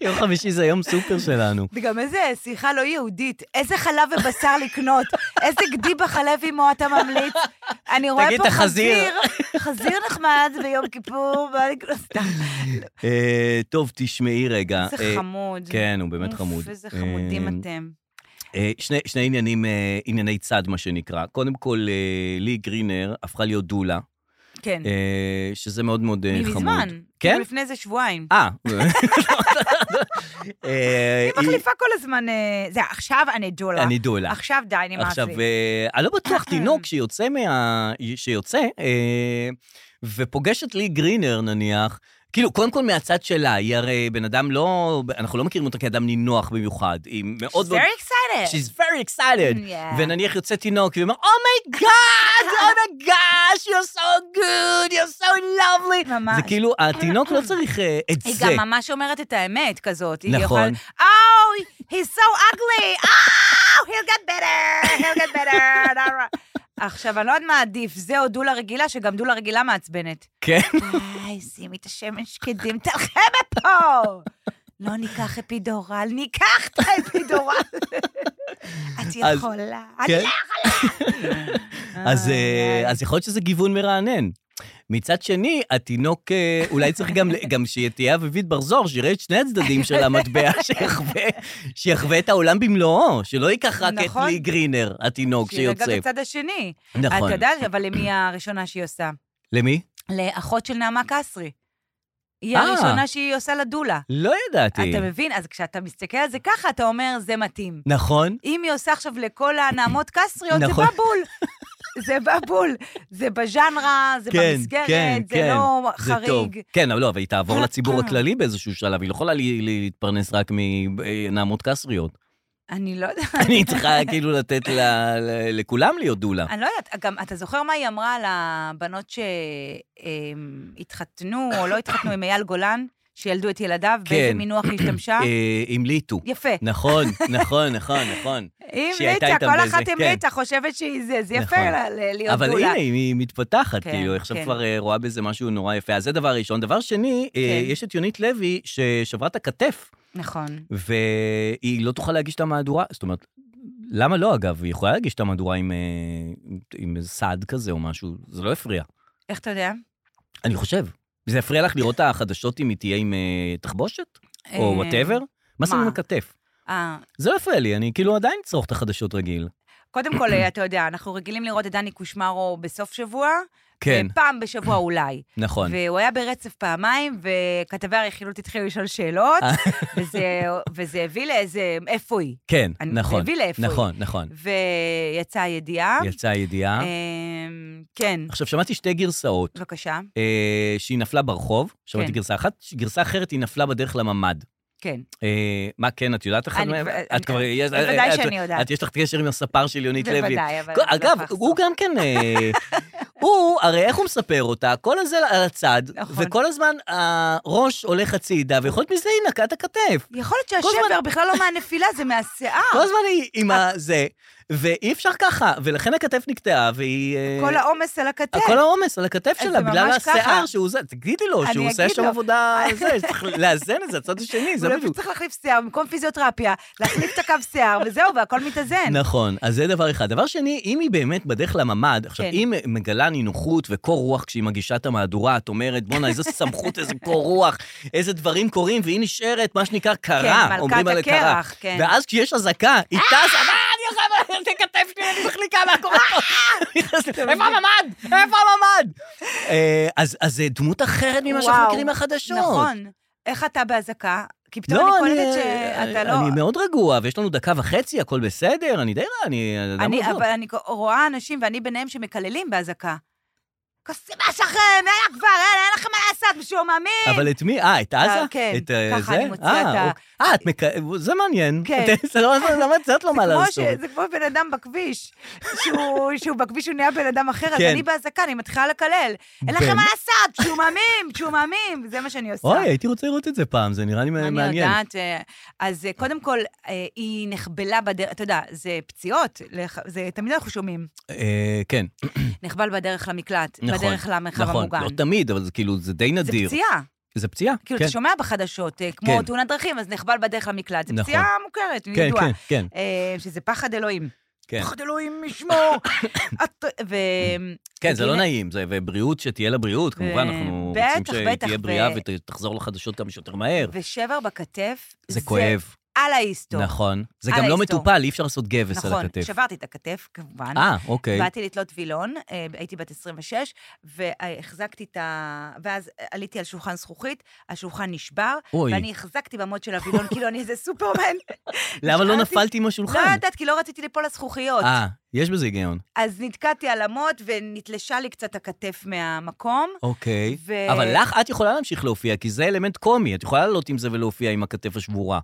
B: יום חמישי זה יום סופר שלנו.
C: וגם איזה שיחה לא יהודית, איזה חלב ובשר לקנות, איזה גדיבה חלב אימו אתה ממליץ. אני רואה
B: תגיד,
C: פה
B: אתה חזיר.
C: חזיר, חזיר נחמד ביום כיפור, מה לקנות סתם.
B: אה, טוב, תשמעי רגע.
C: איזה
B: אה,
C: חמוד.
B: כן, הוא באמת
C: אוף,
B: חמוד.
C: איזה
B: אה,
C: חמודים אתם.
B: אה, שני, שני עניינים, אה, ענייני צד, מה שנקרא. קודם כל, אה, לי גרינר הפכה להיות דולה,
C: כן,
B: אה, שזה מאוד מאוד אה, חמוד.
C: מזמן.
B: כן?
C: כאילו לפני איזה שבועיים.
B: אה. אה,
C: היא מחליפה כל הזמן, אה, זה עכשיו אני דולה.
B: אני דולה.
C: עכשיו די, נמאס
B: עכשיו,
C: לי.
B: אה, אני לא בטוח תינוק שיוצא מה... שיוצא, אה, ופוגש את לי גרינר נניח, כאילו, קודם כל מהצד שלה, היא הרי בן אדם לא... אנחנו לא מכירים אותה כאדם נינוח במיוחד. היא מאוד מאוד...
C: Very excited. Mm,
B: She's very excited.
C: Yeah.
B: ונניח יוצא תינוק, והיא אומרת, "Oh אומייגאד, אומייגאש, oh you're so good, you're so lovely.
C: ממש.
B: זה כאילו, התינוק לא צריך אה, את
C: היא
B: זה.
C: גם ממש אומרת את האמת כזאת. היא
B: נכון.
C: יכולה, Oh, he's so ugly! Oh, he'll get better! he'll get better! עכשיו, אני לא יודעת מה עדיף, זה או דולה רגילה, שגם דולה רגילה מעצבנת.
B: כן.
C: די, שימי את השמן שקדים, תלכי מפה! לא ניקח אפידורל, ניקח את האפידורל. את
B: אז-
C: יכולה. את
B: כן.
C: לא יכולה.
B: אז, אה,
C: איי,
B: אז יכול להיות שזה גיוון מרענן. מצד שני, התינוק, אה, אולי צריך גם, גם שתהיה אביבית בר זוהר, שיראה את שני הצדדים של המטבע, שיחווה, שיחווה את העולם במלואו, שלא ייקח רק
C: נכון.
B: את לי גרינר, התינוק
C: שיראה גם
B: שיוצא.
C: את הצד השני.
B: נכון.
C: את יודעת, אבל למי הראשונה שהיא עושה?
B: למי?
C: לאחות של נעמה קסרי. היא
B: אה.
C: הראשונה שהיא עושה לדולה.
B: לא ידעתי.
C: אתה מבין? אז כשאתה מסתכל על זה ככה, אתה אומר, זה מתאים.
B: נכון?
C: אם היא עושה עכשיו לכל הנעמות קסריות, זה
B: נכון.
C: בבול. זה בבול. זה בז'אנרה, זה במסגרת, זה לא
B: כן, זה טוב.
C: חריג.
B: כן, אבל לא, אבל היא תעבור לציבור הכללי באיזשהו שלב, היא לא יכולה לי- לי- להתפרנס רק מנעמות קסריות.
C: אני לא יודעת.
B: אני צריכה כאילו לתת ל- ל- לכולם להיות דולה.
C: אני לא יודעת, גם אתה זוכר מה היא אמרה על הבנות שהתחתנו או לא התחתנו עם אייל גולן, שילדו את ילדיו,
B: כן.
C: באיזה מינוח היא השתמשה?
B: אה, המליטו.
C: יפה.
B: נכון, נכון, נכון, נכון.
C: אם
B: שהיא הייתה
C: ליטה,
B: איתם
C: כל
B: באיזה-
C: אחת עם
B: כן.
C: ליטה חושבת שהיא זה, זה יפה
B: נכון.
C: לה- ל- להיות
B: אבל
C: דולה.
B: הנה, היא היא מתפתחת,
C: כן,
B: כאילו, עכשיו
C: כן.
B: כבר אה, רואה בזה משהו נורא יפה. אז זה דבר ראשון. דבר שני, אה,
C: כן.
B: יש את יונית לוי ששברה את הכתף,
C: נכון.
B: והיא לא תוכל להגיש את המהדורה, זאת אומרת, למה לא, אגב? היא יכולה להגיש את המהדורה עם, אה, עם איזה סעד כזה או משהו, זה לא הפריע.
C: איך אתה יודע?
B: אני חושב. זה יפריע לך לראות את החדשות אם היא תהיה עם אה, תחבושת? או
C: אה,
B: וואטאבר? מה שמים
C: מה?
B: לכתף?
C: אה,
B: זה לא יפריע לי, אני כאילו עדיין צרוך את החדשות רגיל.
C: קודם כל, אה, אתה יודע, אנחנו רגילים לראות את דני קושמרו בסוף שבוע. אה,
B: כן,
C: פעם בשבוע אולי.
B: נכון.
C: והוא היה ברצף פעמיים, וכתבי הרכילות התחילו לשאול שאלות,
B: אה.
C: וזה, וזה הביא לאיזה, איפה היא?
B: כן,
C: אני-
B: נכון.
C: זה הביא לאיפה היא.
B: נכון, נכון.
C: ויצאה ידיעה.
B: יצאה ידיעה.
C: אמ, כן,
B: עכשיו, שמעתי שתי גרסאות.
C: בבקשה.
B: אה, שהיא נפלה ברחוב, שמעתי
C: כן.
B: גרסה אחת, גרסה אחרת היא נפלה בדרך לממ"ד.
C: כן.
B: אה, מה כן, את יודעת אחד
C: אני אה,
B: מהם?
C: כבר-
B: את כבר... יש- אה, את-
C: בוודאי שאני יודעת.
B: את, יש לך קשר עם הספר של יונית לוי.
C: בוודאי, אבל...
B: כל-
C: אני לא
B: אגב,
C: יכולה
B: הוא
C: לחשוף.
B: גם כן... אה, הוא, הרי איך הוא מספר אותה? כל הזה על הצד,
C: נכון.
B: וכל הזמן הראש הולך הצידה, ויכול להיות מזה היא נקעה את הכתף.
C: יכול להיות
B: כל הזמן-
C: שהשבר בכלל לא מהנפילה, זה מהשיער.
B: כל הזמן היא עם
C: אה.
B: הזה, ואי אפשר ככה, ולכן הכתף נקטעה, והיא... אה,
C: כל העומס על הכתף.
B: כל העומס על הכתף
C: אז
B: שלה,
C: זה
B: בגלל
C: ממש
B: השיער
C: ככה.
B: שהוא זה, תגידי לו
C: אני
B: שהוא עושה
C: אגיד
B: שם
C: לו. לא
B: עבודה, זה, צריך לאזן את זה, הצד השני, זה
C: אולי
B: בדיוק.
C: צריך להחליף שיער, במקום פיזיותרפיה, להחליף את הקו שיער, וזהו, והכל מתאזן.
B: נכון, אז זה דבר אחד. דבר שני, אם היא באמת בדרך לממ"ד, עכשיו,
C: כן.
B: אם מגלה נינוחות וקור רוח כשהיא מגישה את המהדורה, את אומרת, בואנה, איזה סמכות, איזה קור רוח, איזה דברים קורים, והיא נשארת, מה שנקרא, קרה,
C: כן, מלכת
B: אומרים עליה קרה.
C: הקרח, כן. אה!
B: ואז כשיש אזעקה, היא טסה, מה, אני עושה, את הכתף שלי, אני מחליקה, מה קורה פה?
C: אה!
B: איפה הממ"ד? איפה הממ"ד? אה, אז אז זה דמות אחרת ממה שאנחנו
C: וואו,
B: מכירים מהחדשות.
C: נכון. איך אתה באזעקה? כי פתאום אני
B: לא,
C: קולטת
B: אני-
C: שאתה לא...
B: אני מאוד רגוע, ויש לנו דקה וחצי, הכל בסדר, אני די רע, אני לא? אדם
C: אני,
B: רגוע.
C: אבל אני רואה אנשים, ואני ביניהם, שמקללים באזעקה. כוסים מה שלכם, אין לך כבר, אין, אין לכם מה לעשות, משועממים.
B: אבל את מי? אה, את עזה?
C: כן. אה, כן,
B: את, אה,
C: ככה
B: זה?
C: אני מוציאה את ה-
B: אוקיי. אה, את מק... זה מעניין.
C: כן.
B: זה לא מצאת לו מה
C: כמו
B: לעשות.
C: ש- זה כמו בן אדם בכביש, שהוא- שהוא בכביש הוא נהיה בן אדם אחר, אז
B: כן.
C: אני באזעקה, אני מתחילה לקלל. אין
B: כן.
C: לכם מה לעשות, משועממים, משועממים, זה מה שאני עושה.
B: אוי, הייתי רוצה לראות את זה פעם, זה נראה לי מעניין.
C: אני יודעת. אה, אז אה, קודם כל, אה, היא נחבלה בדרך, אתה יודע, זה פציעות, לח- זה תמיד אנחנו שומעים.
B: אה, כן,
C: נחבל בדרך למקלט,
B: נכון.
C: בדרך למרחב
B: נכון.
C: המוגן.
B: לא תמיד, אבל זה כאילו, זה די
C: זה
B: נדיר.
C: פציעה.
B: זה פציעה.
C: כאילו,
B: כן.
C: אתה שומע בחדשות, אה, כמו
B: כן.
C: תאונת דרכים, אז נחבל בדרך למקלט. זו
B: נכון.
C: פציעה מוכרת,
B: כן,
C: ידועה.
B: כן, כן,
C: אה, שזה פחד אלוהים.
B: כן.
C: פחד אלוהים ישמור. את- ו-
B: כן, זה לא
C: וכאילו-
B: נעים, זה, ובריאות, שתהיה לה בריאות, כמובן, אנחנו
C: בטח,
B: רוצים
C: בטח,
B: שתהיה
C: ו-
B: בריאה ותחזור לחדשות כמה שיותר מהר.
C: ושבר בכתף,
B: זה כואב,
C: על ההיסטור.
B: נכון. זה
C: על
B: גם לא
C: ההיסטור.
B: מטופל, אי אפשר לעשות גבס על
C: אה, נכון,
B: הכתף.
C: שברתי את הכתף, כמובן.
B: אה, אוקיי.
C: באתי לתלות וילון, אה, הייתי בת 26, והחזקתי את ה... ואז עליתי על שולחן זכוכית, השולחן נשבר,
B: אוי,
C: ואני החזקתי במוט של הווילון, כאילו אני איזה סופרמן.
B: למה לא
C: נשארתי-
B: נפלתי עם
C: לא
B: השולחן?
C: יודעת, כי לא רציתי ליפול לזכוכיות.
B: אה, יש בזה היגיון.
C: אז נתקעתי על המוט ונתלשה לי קצת הכתף מהמקום.
B: אוקיי.
C: ו-
B: אבל לך, את יכולה להמשיך להופיע, כי זה אלמנט קומי, את יכולה לעלות עם זה ולהופיע עם הכתף השבורה.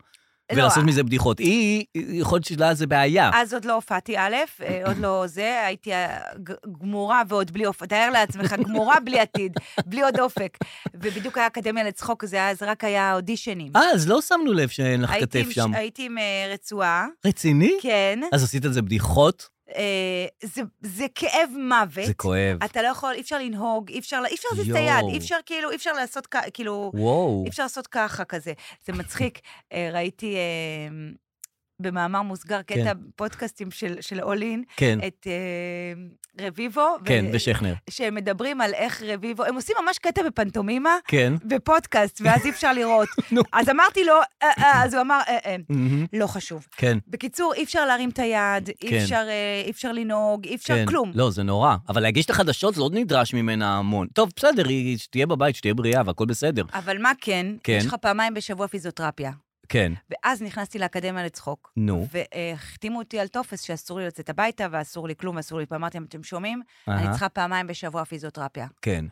C: לא,
B: ולעשות מזה בדיחות. היא, היא- יכול להיות שלה זה בעיה.
C: אז עוד לא הופעתי, א', אה, עוד לא זה, הייתי אה, ג- גמורה ועוד בלי אופק, תאר לעצמך, גמורה בלי עתיד, בלי עוד אופק. ובדיוק היה אקדמיה לצחוק, זה היה, אז רק היה אודישנים.
B: אה, אז לא שמנו לב שאין לך
C: הייתי
B: כתף
C: עם ש-
B: שם.
C: הייתי עם אה, רצועה,
B: רציני?
C: כן.
B: אז עשית את זה בדיחות?
C: אה, זה- זה כאב מוות.
B: זה כואב.
C: אתה לא יכול, אי אפשר לנהוג, אי אפשר, אי אפשר להזיז את
B: יואו.
C: היד, אי אפשר כאילו, אי אפשר לעשות כ- כאילו,
B: וואו.
C: אי אפשר לעשות ככה כזה. זה מצחיק. אה, ראיתי אה, במאמר מוסגר קטע פודקאסטים של של אולין,
B: כן,
C: את אה, רביבו. ו-
B: כן, ושכנר.
C: שהם מדברים על איך רביבו, הם עושים ממש קטע בפנטומימה,
B: כן.
C: בפודקאסט, ואז אי אפשר לראות.
B: נו.
C: אז אמרתי לו, אה, אה, אז הוא אמר, אה, אה,
B: מהמם.
C: לא חשוב.
B: כן,
C: בקיצור, אי אפשר להרים את היד,
B: כן.
C: אי אפשר, אה, אי אפשר לנהוג, אי אפשר
B: כן.
C: כלום.
B: לא, זה נורא. אבל להגיש את החדשות, זה עוד נדרש ממנה המון. טוב, בסדר, היא שתהיה בבית, שתהיה בריאה והכל בסדר.
C: אבל מה כן,
B: כן.
C: יש לך פעמיים בשבוע פיזיותרפיה.
B: כן,
C: ואז נכנסתי לאקדמיה לצחוק.
B: נו.
C: והחתימו אותי על טופס שאסור לי לצאת הביתה, ואסור לי כלום, ואסור לי... אמרתי להם, אתם שומעים? אני
B: אהה,
C: צריכה פעמיים בשבוע פיזיותרפיה.
B: כן.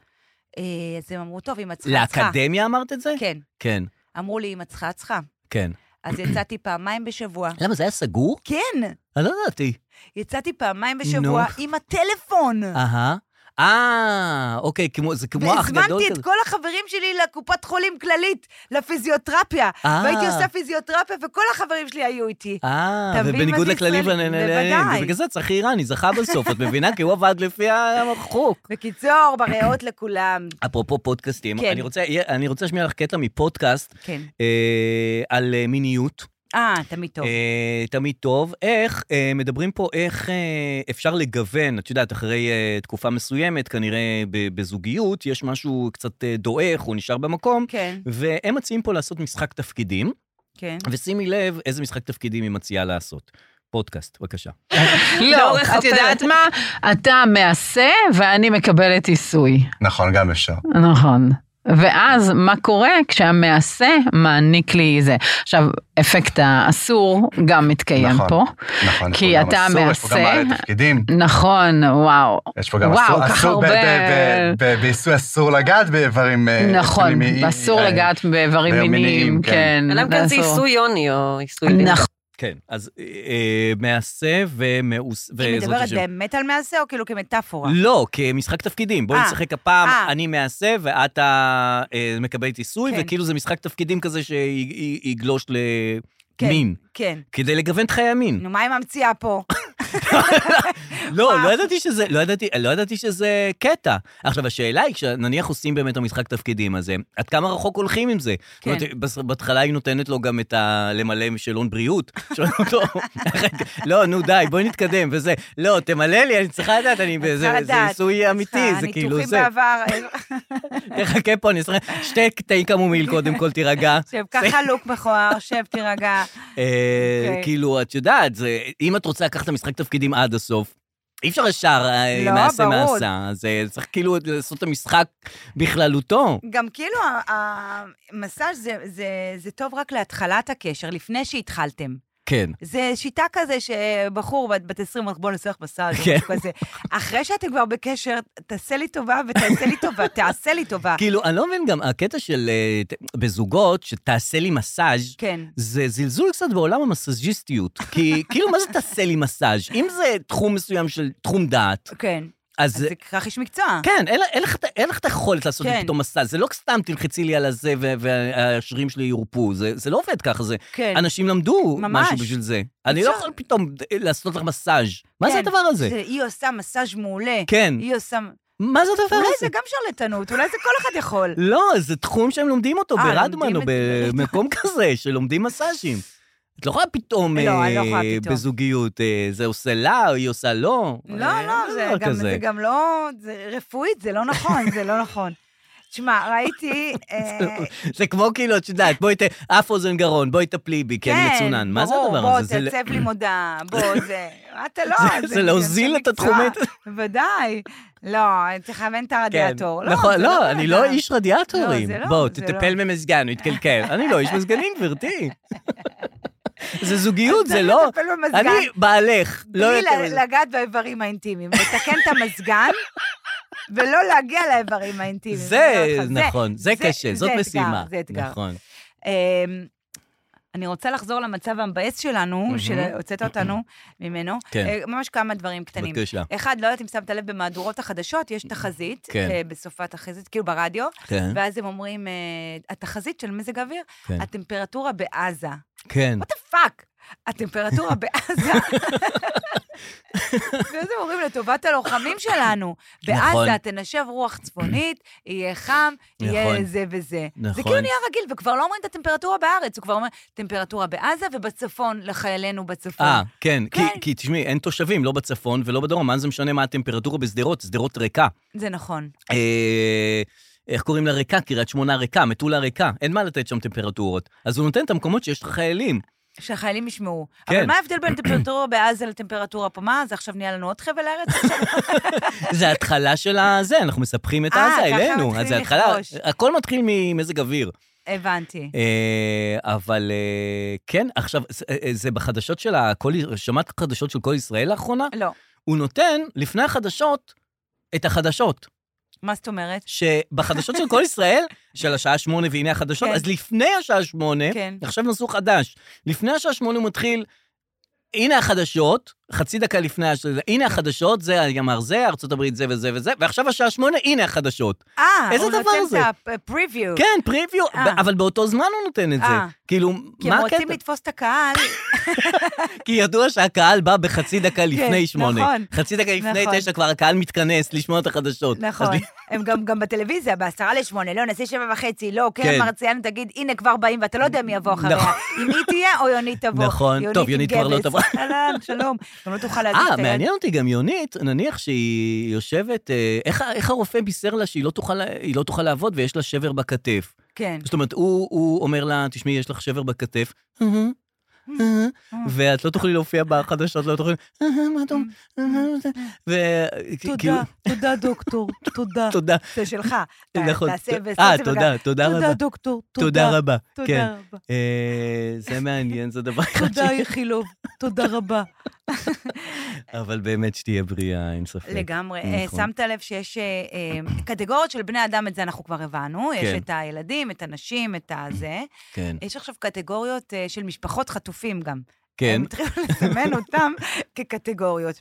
C: אה, אז הם אמרו, טוב, אם את צריכה, את צריכה.
B: לאקדמיה אמרת את זה?
C: כן.
B: כן,
C: אמרו לי, אם את צריכה, את צריכה.
B: כן.
C: אז יצאתי פעמיים בשבוע.
B: למה, זה היה סגור?
C: כן,
B: אני לא ידעתי.
C: יצאתי פעמיים
B: נו.
C: בשבוע עם הטלפון.
B: אהה. אה, אוקיי, כמו, זה כמו אח גדול
C: והזמנתי
B: כזה.
C: את כל החברים שלי לקופת חולים כללית, לפיזיותרפיה.
B: אה.
C: והייתי עושה פיזיותרפיה, וכל החברים שלי היו איתי.
B: אה,
C: אתה מבין מה
B: ובניגוד
C: זה
B: לכללים
C: ישראלי?
B: ולנהלים,
C: בוודאי.
B: ובגלל זה צריך איראני, זכה בסוף, את מבינה? כי הוא עבד לפי החוק.
C: בקיצור, בריאות לכולם.
B: אפרופו פודקאסטים,
C: כן.
B: אני רוצה- אני רוצה להשמיע לך קטע מפודקאסט
C: כן.
B: אה, על אה, מיניות.
C: אה, תמיד טוב.
B: אה, תמיד טוב. איך, אה, מדברים פה איך אה, אפשר לגוון, את יודעת, אחרי אה, תקופה מסוימת, כנראה ב- בזוגיות, יש משהו קצת אה, דועך, הוא נשאר במקום,
C: כן,
B: והם מציעים פה לעשות משחק תפקידים,
C: כן.
B: ושימי לב איזה משחק תפקידים היא מציעה לעשות. פודקאסט, בבקשה.
E: לא,
C: לאורך
E: את
C: הפרק.
E: יודעת מה? אתה מעשה ואני מקבלת עיסוי.
F: נכון, גם אפשר.
E: נכון. ואז מה קורה כשהמעשה מעניק לי זה. עכשיו, אפקט האסור גם מתקיים
F: נכון.
E: פה.
F: נכון,
E: כי
F: יש פה גם
E: אתה
F: אסור, יש פה גם
E: מעשה.
F: בעלי תפקידים.
E: נכון, וואו.
F: יש פה גם
E: וואו,
F: אסור,
E: ככה
F: אסור, ב-
E: הרבה-
F: ב- ב- ב- בעיסוי אסור לגעת באיברים אה,
E: נכון,
F: פנימיים,
E: אסור
F: אה,
E: לגעת באיברים
F: באיברים
E: מיניים,
F: מיניים,
E: כן.
G: אדם כאן זה
E: אסור.
G: עיסוי יוני או עיסוי לידה.
E: נכון,
B: כן, אז אה, אה, מעשה ומאוס...
C: היא
B: וזאת
C: מדברת
B: השם.
C: באמת על מעשה או כאילו כמטאפורה?
B: לא, כמשחק תפקידים. בואי
C: אה,
B: נשחק הפעם,
C: אה.
B: אני מעשה ואת ה- אה, מקבלת עיסוי,
C: כן.
B: וכאילו זה משחק תפקידים כזה שיגלוש
C: כן.
B: למין.
C: כן.
B: כדי לגוון את חיי המין.
C: נו, מה היא ממציאה פה?
B: לא,
C: מה?
B: לא ידעתי שזה, לא ידעתי, לא ידעתי שזה קטע. עכשיו, השאלה היא, כשנניח עושים באמת את המשחק תפקידים הזה, עד כמה רחוק הולכים עם זה? זאת
C: כן.
B: אומרת, בס- בהתחלה היא נותנת לו גם את ה... למלא שאלון בריאות. שואלים אותו, "רגע, לא, נו די, בואי נתקדם, וזה, לא, תמלא לי, אני צריכה לדעת, אני...
C: אני
B: זה-
C: צריכה
B: זה
C: לדעת.
B: עיסוי אמיתי, זה כאילו זה.
C: הניתוחים בעבר,
B: תחכה פה, אני אעשה שתי קטעים קמומיל קודם כל, תירגע.
C: שב, ככה לוק מכוער, שב, תירגע.
B: אה,
C: אוקיי.
B: כאילו, את יודעת, זה- אם את רוצה לקחת את המשחק תפקידים עד הסוף, אי אפשר ישר אה,
C: לא,
B: מעשה
C: ברור.
B: מעשה, זה צריך כאילו לעשות את המשחק בכללותו.
C: גם כאילו, ה- ה- המסאז' זה, זה, זה טוב רק להתחלת הקשר, לפני שהתחלתם.
B: כן.
C: זה שיטה כזה שבחור בת, בת 20, אומר, בוא נעשה לך מסאז' או
B: כן.
C: משהו כזה. אחרי שאתם כבר בקשר, תעשה לי טובה ותעשה לי טובה, תעשה לי טובה.
B: כאילו, אני לא מבין גם, הקטע של אה, ת- בזוגות, שתעשה לי מסאז',
C: כן.
B: זה זלזול קצת בעולם המסאז'יסטיות. כי כאילו, מה זה תעשה לי מסאז'? אם זה תחום מסוים של תחום דעת,
C: כן,
B: אז...
C: אז זה כך איש מקצוע.
B: כן, אין לה- אין לך את ה- אין לך את היכולת לעשות לי
C: כן.
B: פתאום מסע, זה לא סתם תלחצי לי על הזה ו- והשרירים שלי יורפו, זה זה לא עובד ככה, זה
C: כן.
B: אנשים למדו
C: ממש.
B: משהו בשביל זה. אני לא
C: אפשר.
B: יכול פתאום אה, לעשות לך מסאז'. מה זה
C: כן.
B: הדבר הזה?
C: זה- היא עושה מסאז' מעולה.
B: כן,
C: היא עושה...
B: מה זה הדבר
C: אולי
B: הזה?
C: זה גם שרלטנות, אולי זה כל אחד יכול.
B: לא, זה תחום שהם לומדים אותו
C: אה,
B: ברדמן
C: לומדים
B: או
C: את זה
B: במקום כזה, שלומדים מסאז'ים. את לא יכולה פתאום
C: לא, אני לא
B: אה,
C: יכולה פתאום.
B: בזוגיות, אה, זה עושה לה, היא עושה לא.
C: לא,
B: אה,
C: לא,
B: אין
C: זה
B: דבר
C: גם,
B: כזה.
C: זה גם לא, זה רפואית, זה לא נכון, זה לא נכון. תשמע, ראיתי... אה,
B: זה כמו כאילו, את יודעת, בואי ת... אף אוזן גרון, בואי תפלי בי, כי אני מצונן. מה זה הדבר הזה? זה
C: ברור, כן, בוא,
B: ל-
C: תעצב לי מודעה, בוא, זה... אתה לא...
B: זה- זה להוזיל
C: אנשי
B: את התחומי-
C: מקצוע, בוודאי. לא, צריך לכוון את הרדיאטור.
B: כן, נכון,
C: זה
B: לא,
C: בן
B: אני
C: אדם.
B: לא איש רדיאטורים.
C: לא, זה לא,
B: בואו,
C: זה
B: תטפל
C: לא.
B: במזגן, הוא יתקלקל. אני לא איש מזגנים, גברתי. זה זוגיות, זה לא...
C: צריך לטפל במזגן.
B: אני בעלך, לא יותר
C: בלי
B: מזה.
C: לגעת באיברים האינטימיים, לתקן את המזגן, ולא להגיע לאיברים האינטימיים.
B: זה
C: אני אומרת לך,
B: נכון, זה קשה, זאת
C: זה אתגר,
B: משימה.
C: זה אתגר.
B: נכון.
C: אמ, אני רוצה לחזור למצב המבאס שלנו,
B: מהמם.
C: שהוצאת אותנו ממנו.
B: כן.
C: אה, ממש כמה דברים קטנים.
B: בבקשה.
C: אחד, לא יודעת אם שמת לב, במהדורות החדשות יש תחזית,
B: כן.
C: אה, בסופת החזית, כאילו ברדיו,
B: כן,
C: ואז הם אומרים, אה, התחזית של מזג אוויר,
B: כן.
C: הטמפרטורה בעזה.
B: כן.
C: וואט פאק, הטמפרטורה בעזה. ואז הם אומרים, לטובת הלוחמים שלנו,
B: נכון.
C: בעזה תנשב רוח צפונית, יהיה חם,
B: נכון.
C: יהיה זה וזה. זה
B: נכון.
C: כאילו נהיה רגיל, וכבר לא אומרים את הטמפרטורה בארץ, הוא כבר אומר, טמפרטורה בעזה ובצפון, לחיילינו בצפון.
B: אה, כן, כי-
C: כן.
B: כי תשמעי, אין תושבים, לא בצפון ולא בדרום, מה זה משנה מה הטמפרטורה בשדרות, שדרות ריקה.
C: זה נכון.
B: אה, איך קוראים לה ריקה? קריית שמונה ריקה, מטולה ריקה, אין מה לתת שם טמפרטורות. אז הוא נותן את המקומות שיש לך חיילים.
C: שהחיילים ישמעו.
B: כן.
C: אבל מה ההבדל בין טמפרטורה בעזה לטמפרטורה פה? מה, זה עכשיו נהיה לנו עוד חבל ארץ עכשיו?
B: זה ההתחלה של הזה, אנחנו מספחים את
C: אה,
B: עזה
C: ככה
B: אלינו.
C: מתחילים
B: אז זה ההתחלה,
C: לכבוש.
B: הכל מתחיל ממזג אוויר.
C: הבנתי.
B: אה, אבל אה, כן, עכשיו, זה- אה, זה בחדשות של הכל, שמעת חדשות של כל ישראל לאחרונה?
C: לא.
B: הוא נותן, לפני החדשות, את החדשות.
C: מה זאת אומרת?
B: שבחדשות של כל ישראל, של השעה שמונה והנה החדשות,
C: כן.
B: אז לפני השעה שמונה,
C: כן.
B: עכשיו נסעו חדש, לפני השעה שמונה הוא מתחיל, הנה החדשות, חצי דקה לפני, הש- הנה החדשות, זה ימ"ר זה, ארצות הברית זה וזה וזה, ועכשיו השעה שמונה, הנה החדשות.
C: אה,
B: איזה
C: הוא
B: דבר
C: נותן
B: זה?
C: את הפריוויו.
B: כן, פריוויו,
C: אה.
B: ב- אבל באותו זמן הוא נותן את זה.
C: אה.
B: כאילו,
C: כי
B: מה
C: הם
B: הקטע?
C: רוצים לתפוס את הקהל.
B: כי ידוע שהקהל בא בחצי דקה לפני שמונה.
C: כן, נכון.
B: חצי דקה לפני
C: נכון.
B: תשע כבר הקהל מתכנס לשמוע את החדשות.
C: נכון.
B: אז
C: הם גם, גם בטלוויזיה, בעשרה לשמונה, לא, נעשה שבע וחצי, לא, קרן
B: כן.
C: מרציאנו תגיד, הנה כבר באים, ואתה לא יודע מי יבוא אחריה.
B: נכון.
C: אם היא תהיה או יונית תבוא.
B: נכון. טוב,
C: עם
B: יונית כבר לא
C: גבס.
B: תבוא.
C: אהלן, שלום. גם לא תוכל להזיז את
B: אה,
C: היד.
B: מעניין אותי גם יונית, נניח שהיא יושבת, אה, איך, ה- איך הרופא בישר לה שהיא לא תוכל, לה- היא לא תוכל לעבוד ויש לה שבר בכתף?
C: כן.
B: זאת אומרת, הוא, הוא אומר לה, תשמעי, יש לך שבר בכתף, "אהה, אהה", ואת לא תוכלי להופיע בחדשות, לא תוכלי, "אהה, מה אתה אומר?" "אהה", ו- כאילו,
C: תודה, תודה, דוקטור, תודה.
B: תודה.
C: זה שלך.
B: נכון.
C: תעשה וסוף
B: אה,
C: זה וגם-
B: תודה, תודה רבה.
C: תודה, דוקטור,
B: תודה
C: תודה.
B: רבה. כן.
C: תודה רבה.
B: אה, זה מעניין, זה דבר אחד
C: תודה,
B: ש...
C: איכילוב, תודה רבה.
B: אבל באמת שתהיה בריאה, אין ספק.
C: לגמרי. אה,
B: נכון.
C: שמת לב שיש אה, אה, קטגוריות של בני אדם, את זה אנחנו כבר הבנו. יש
B: כן.
C: את הילדים, את הנשים, את הזה.
B: כן,
C: יש עכשיו קטגוריות אה, של משפחות חטופים גם.
B: כן,
C: הם התחילו לסמן אותם כקטגוריות.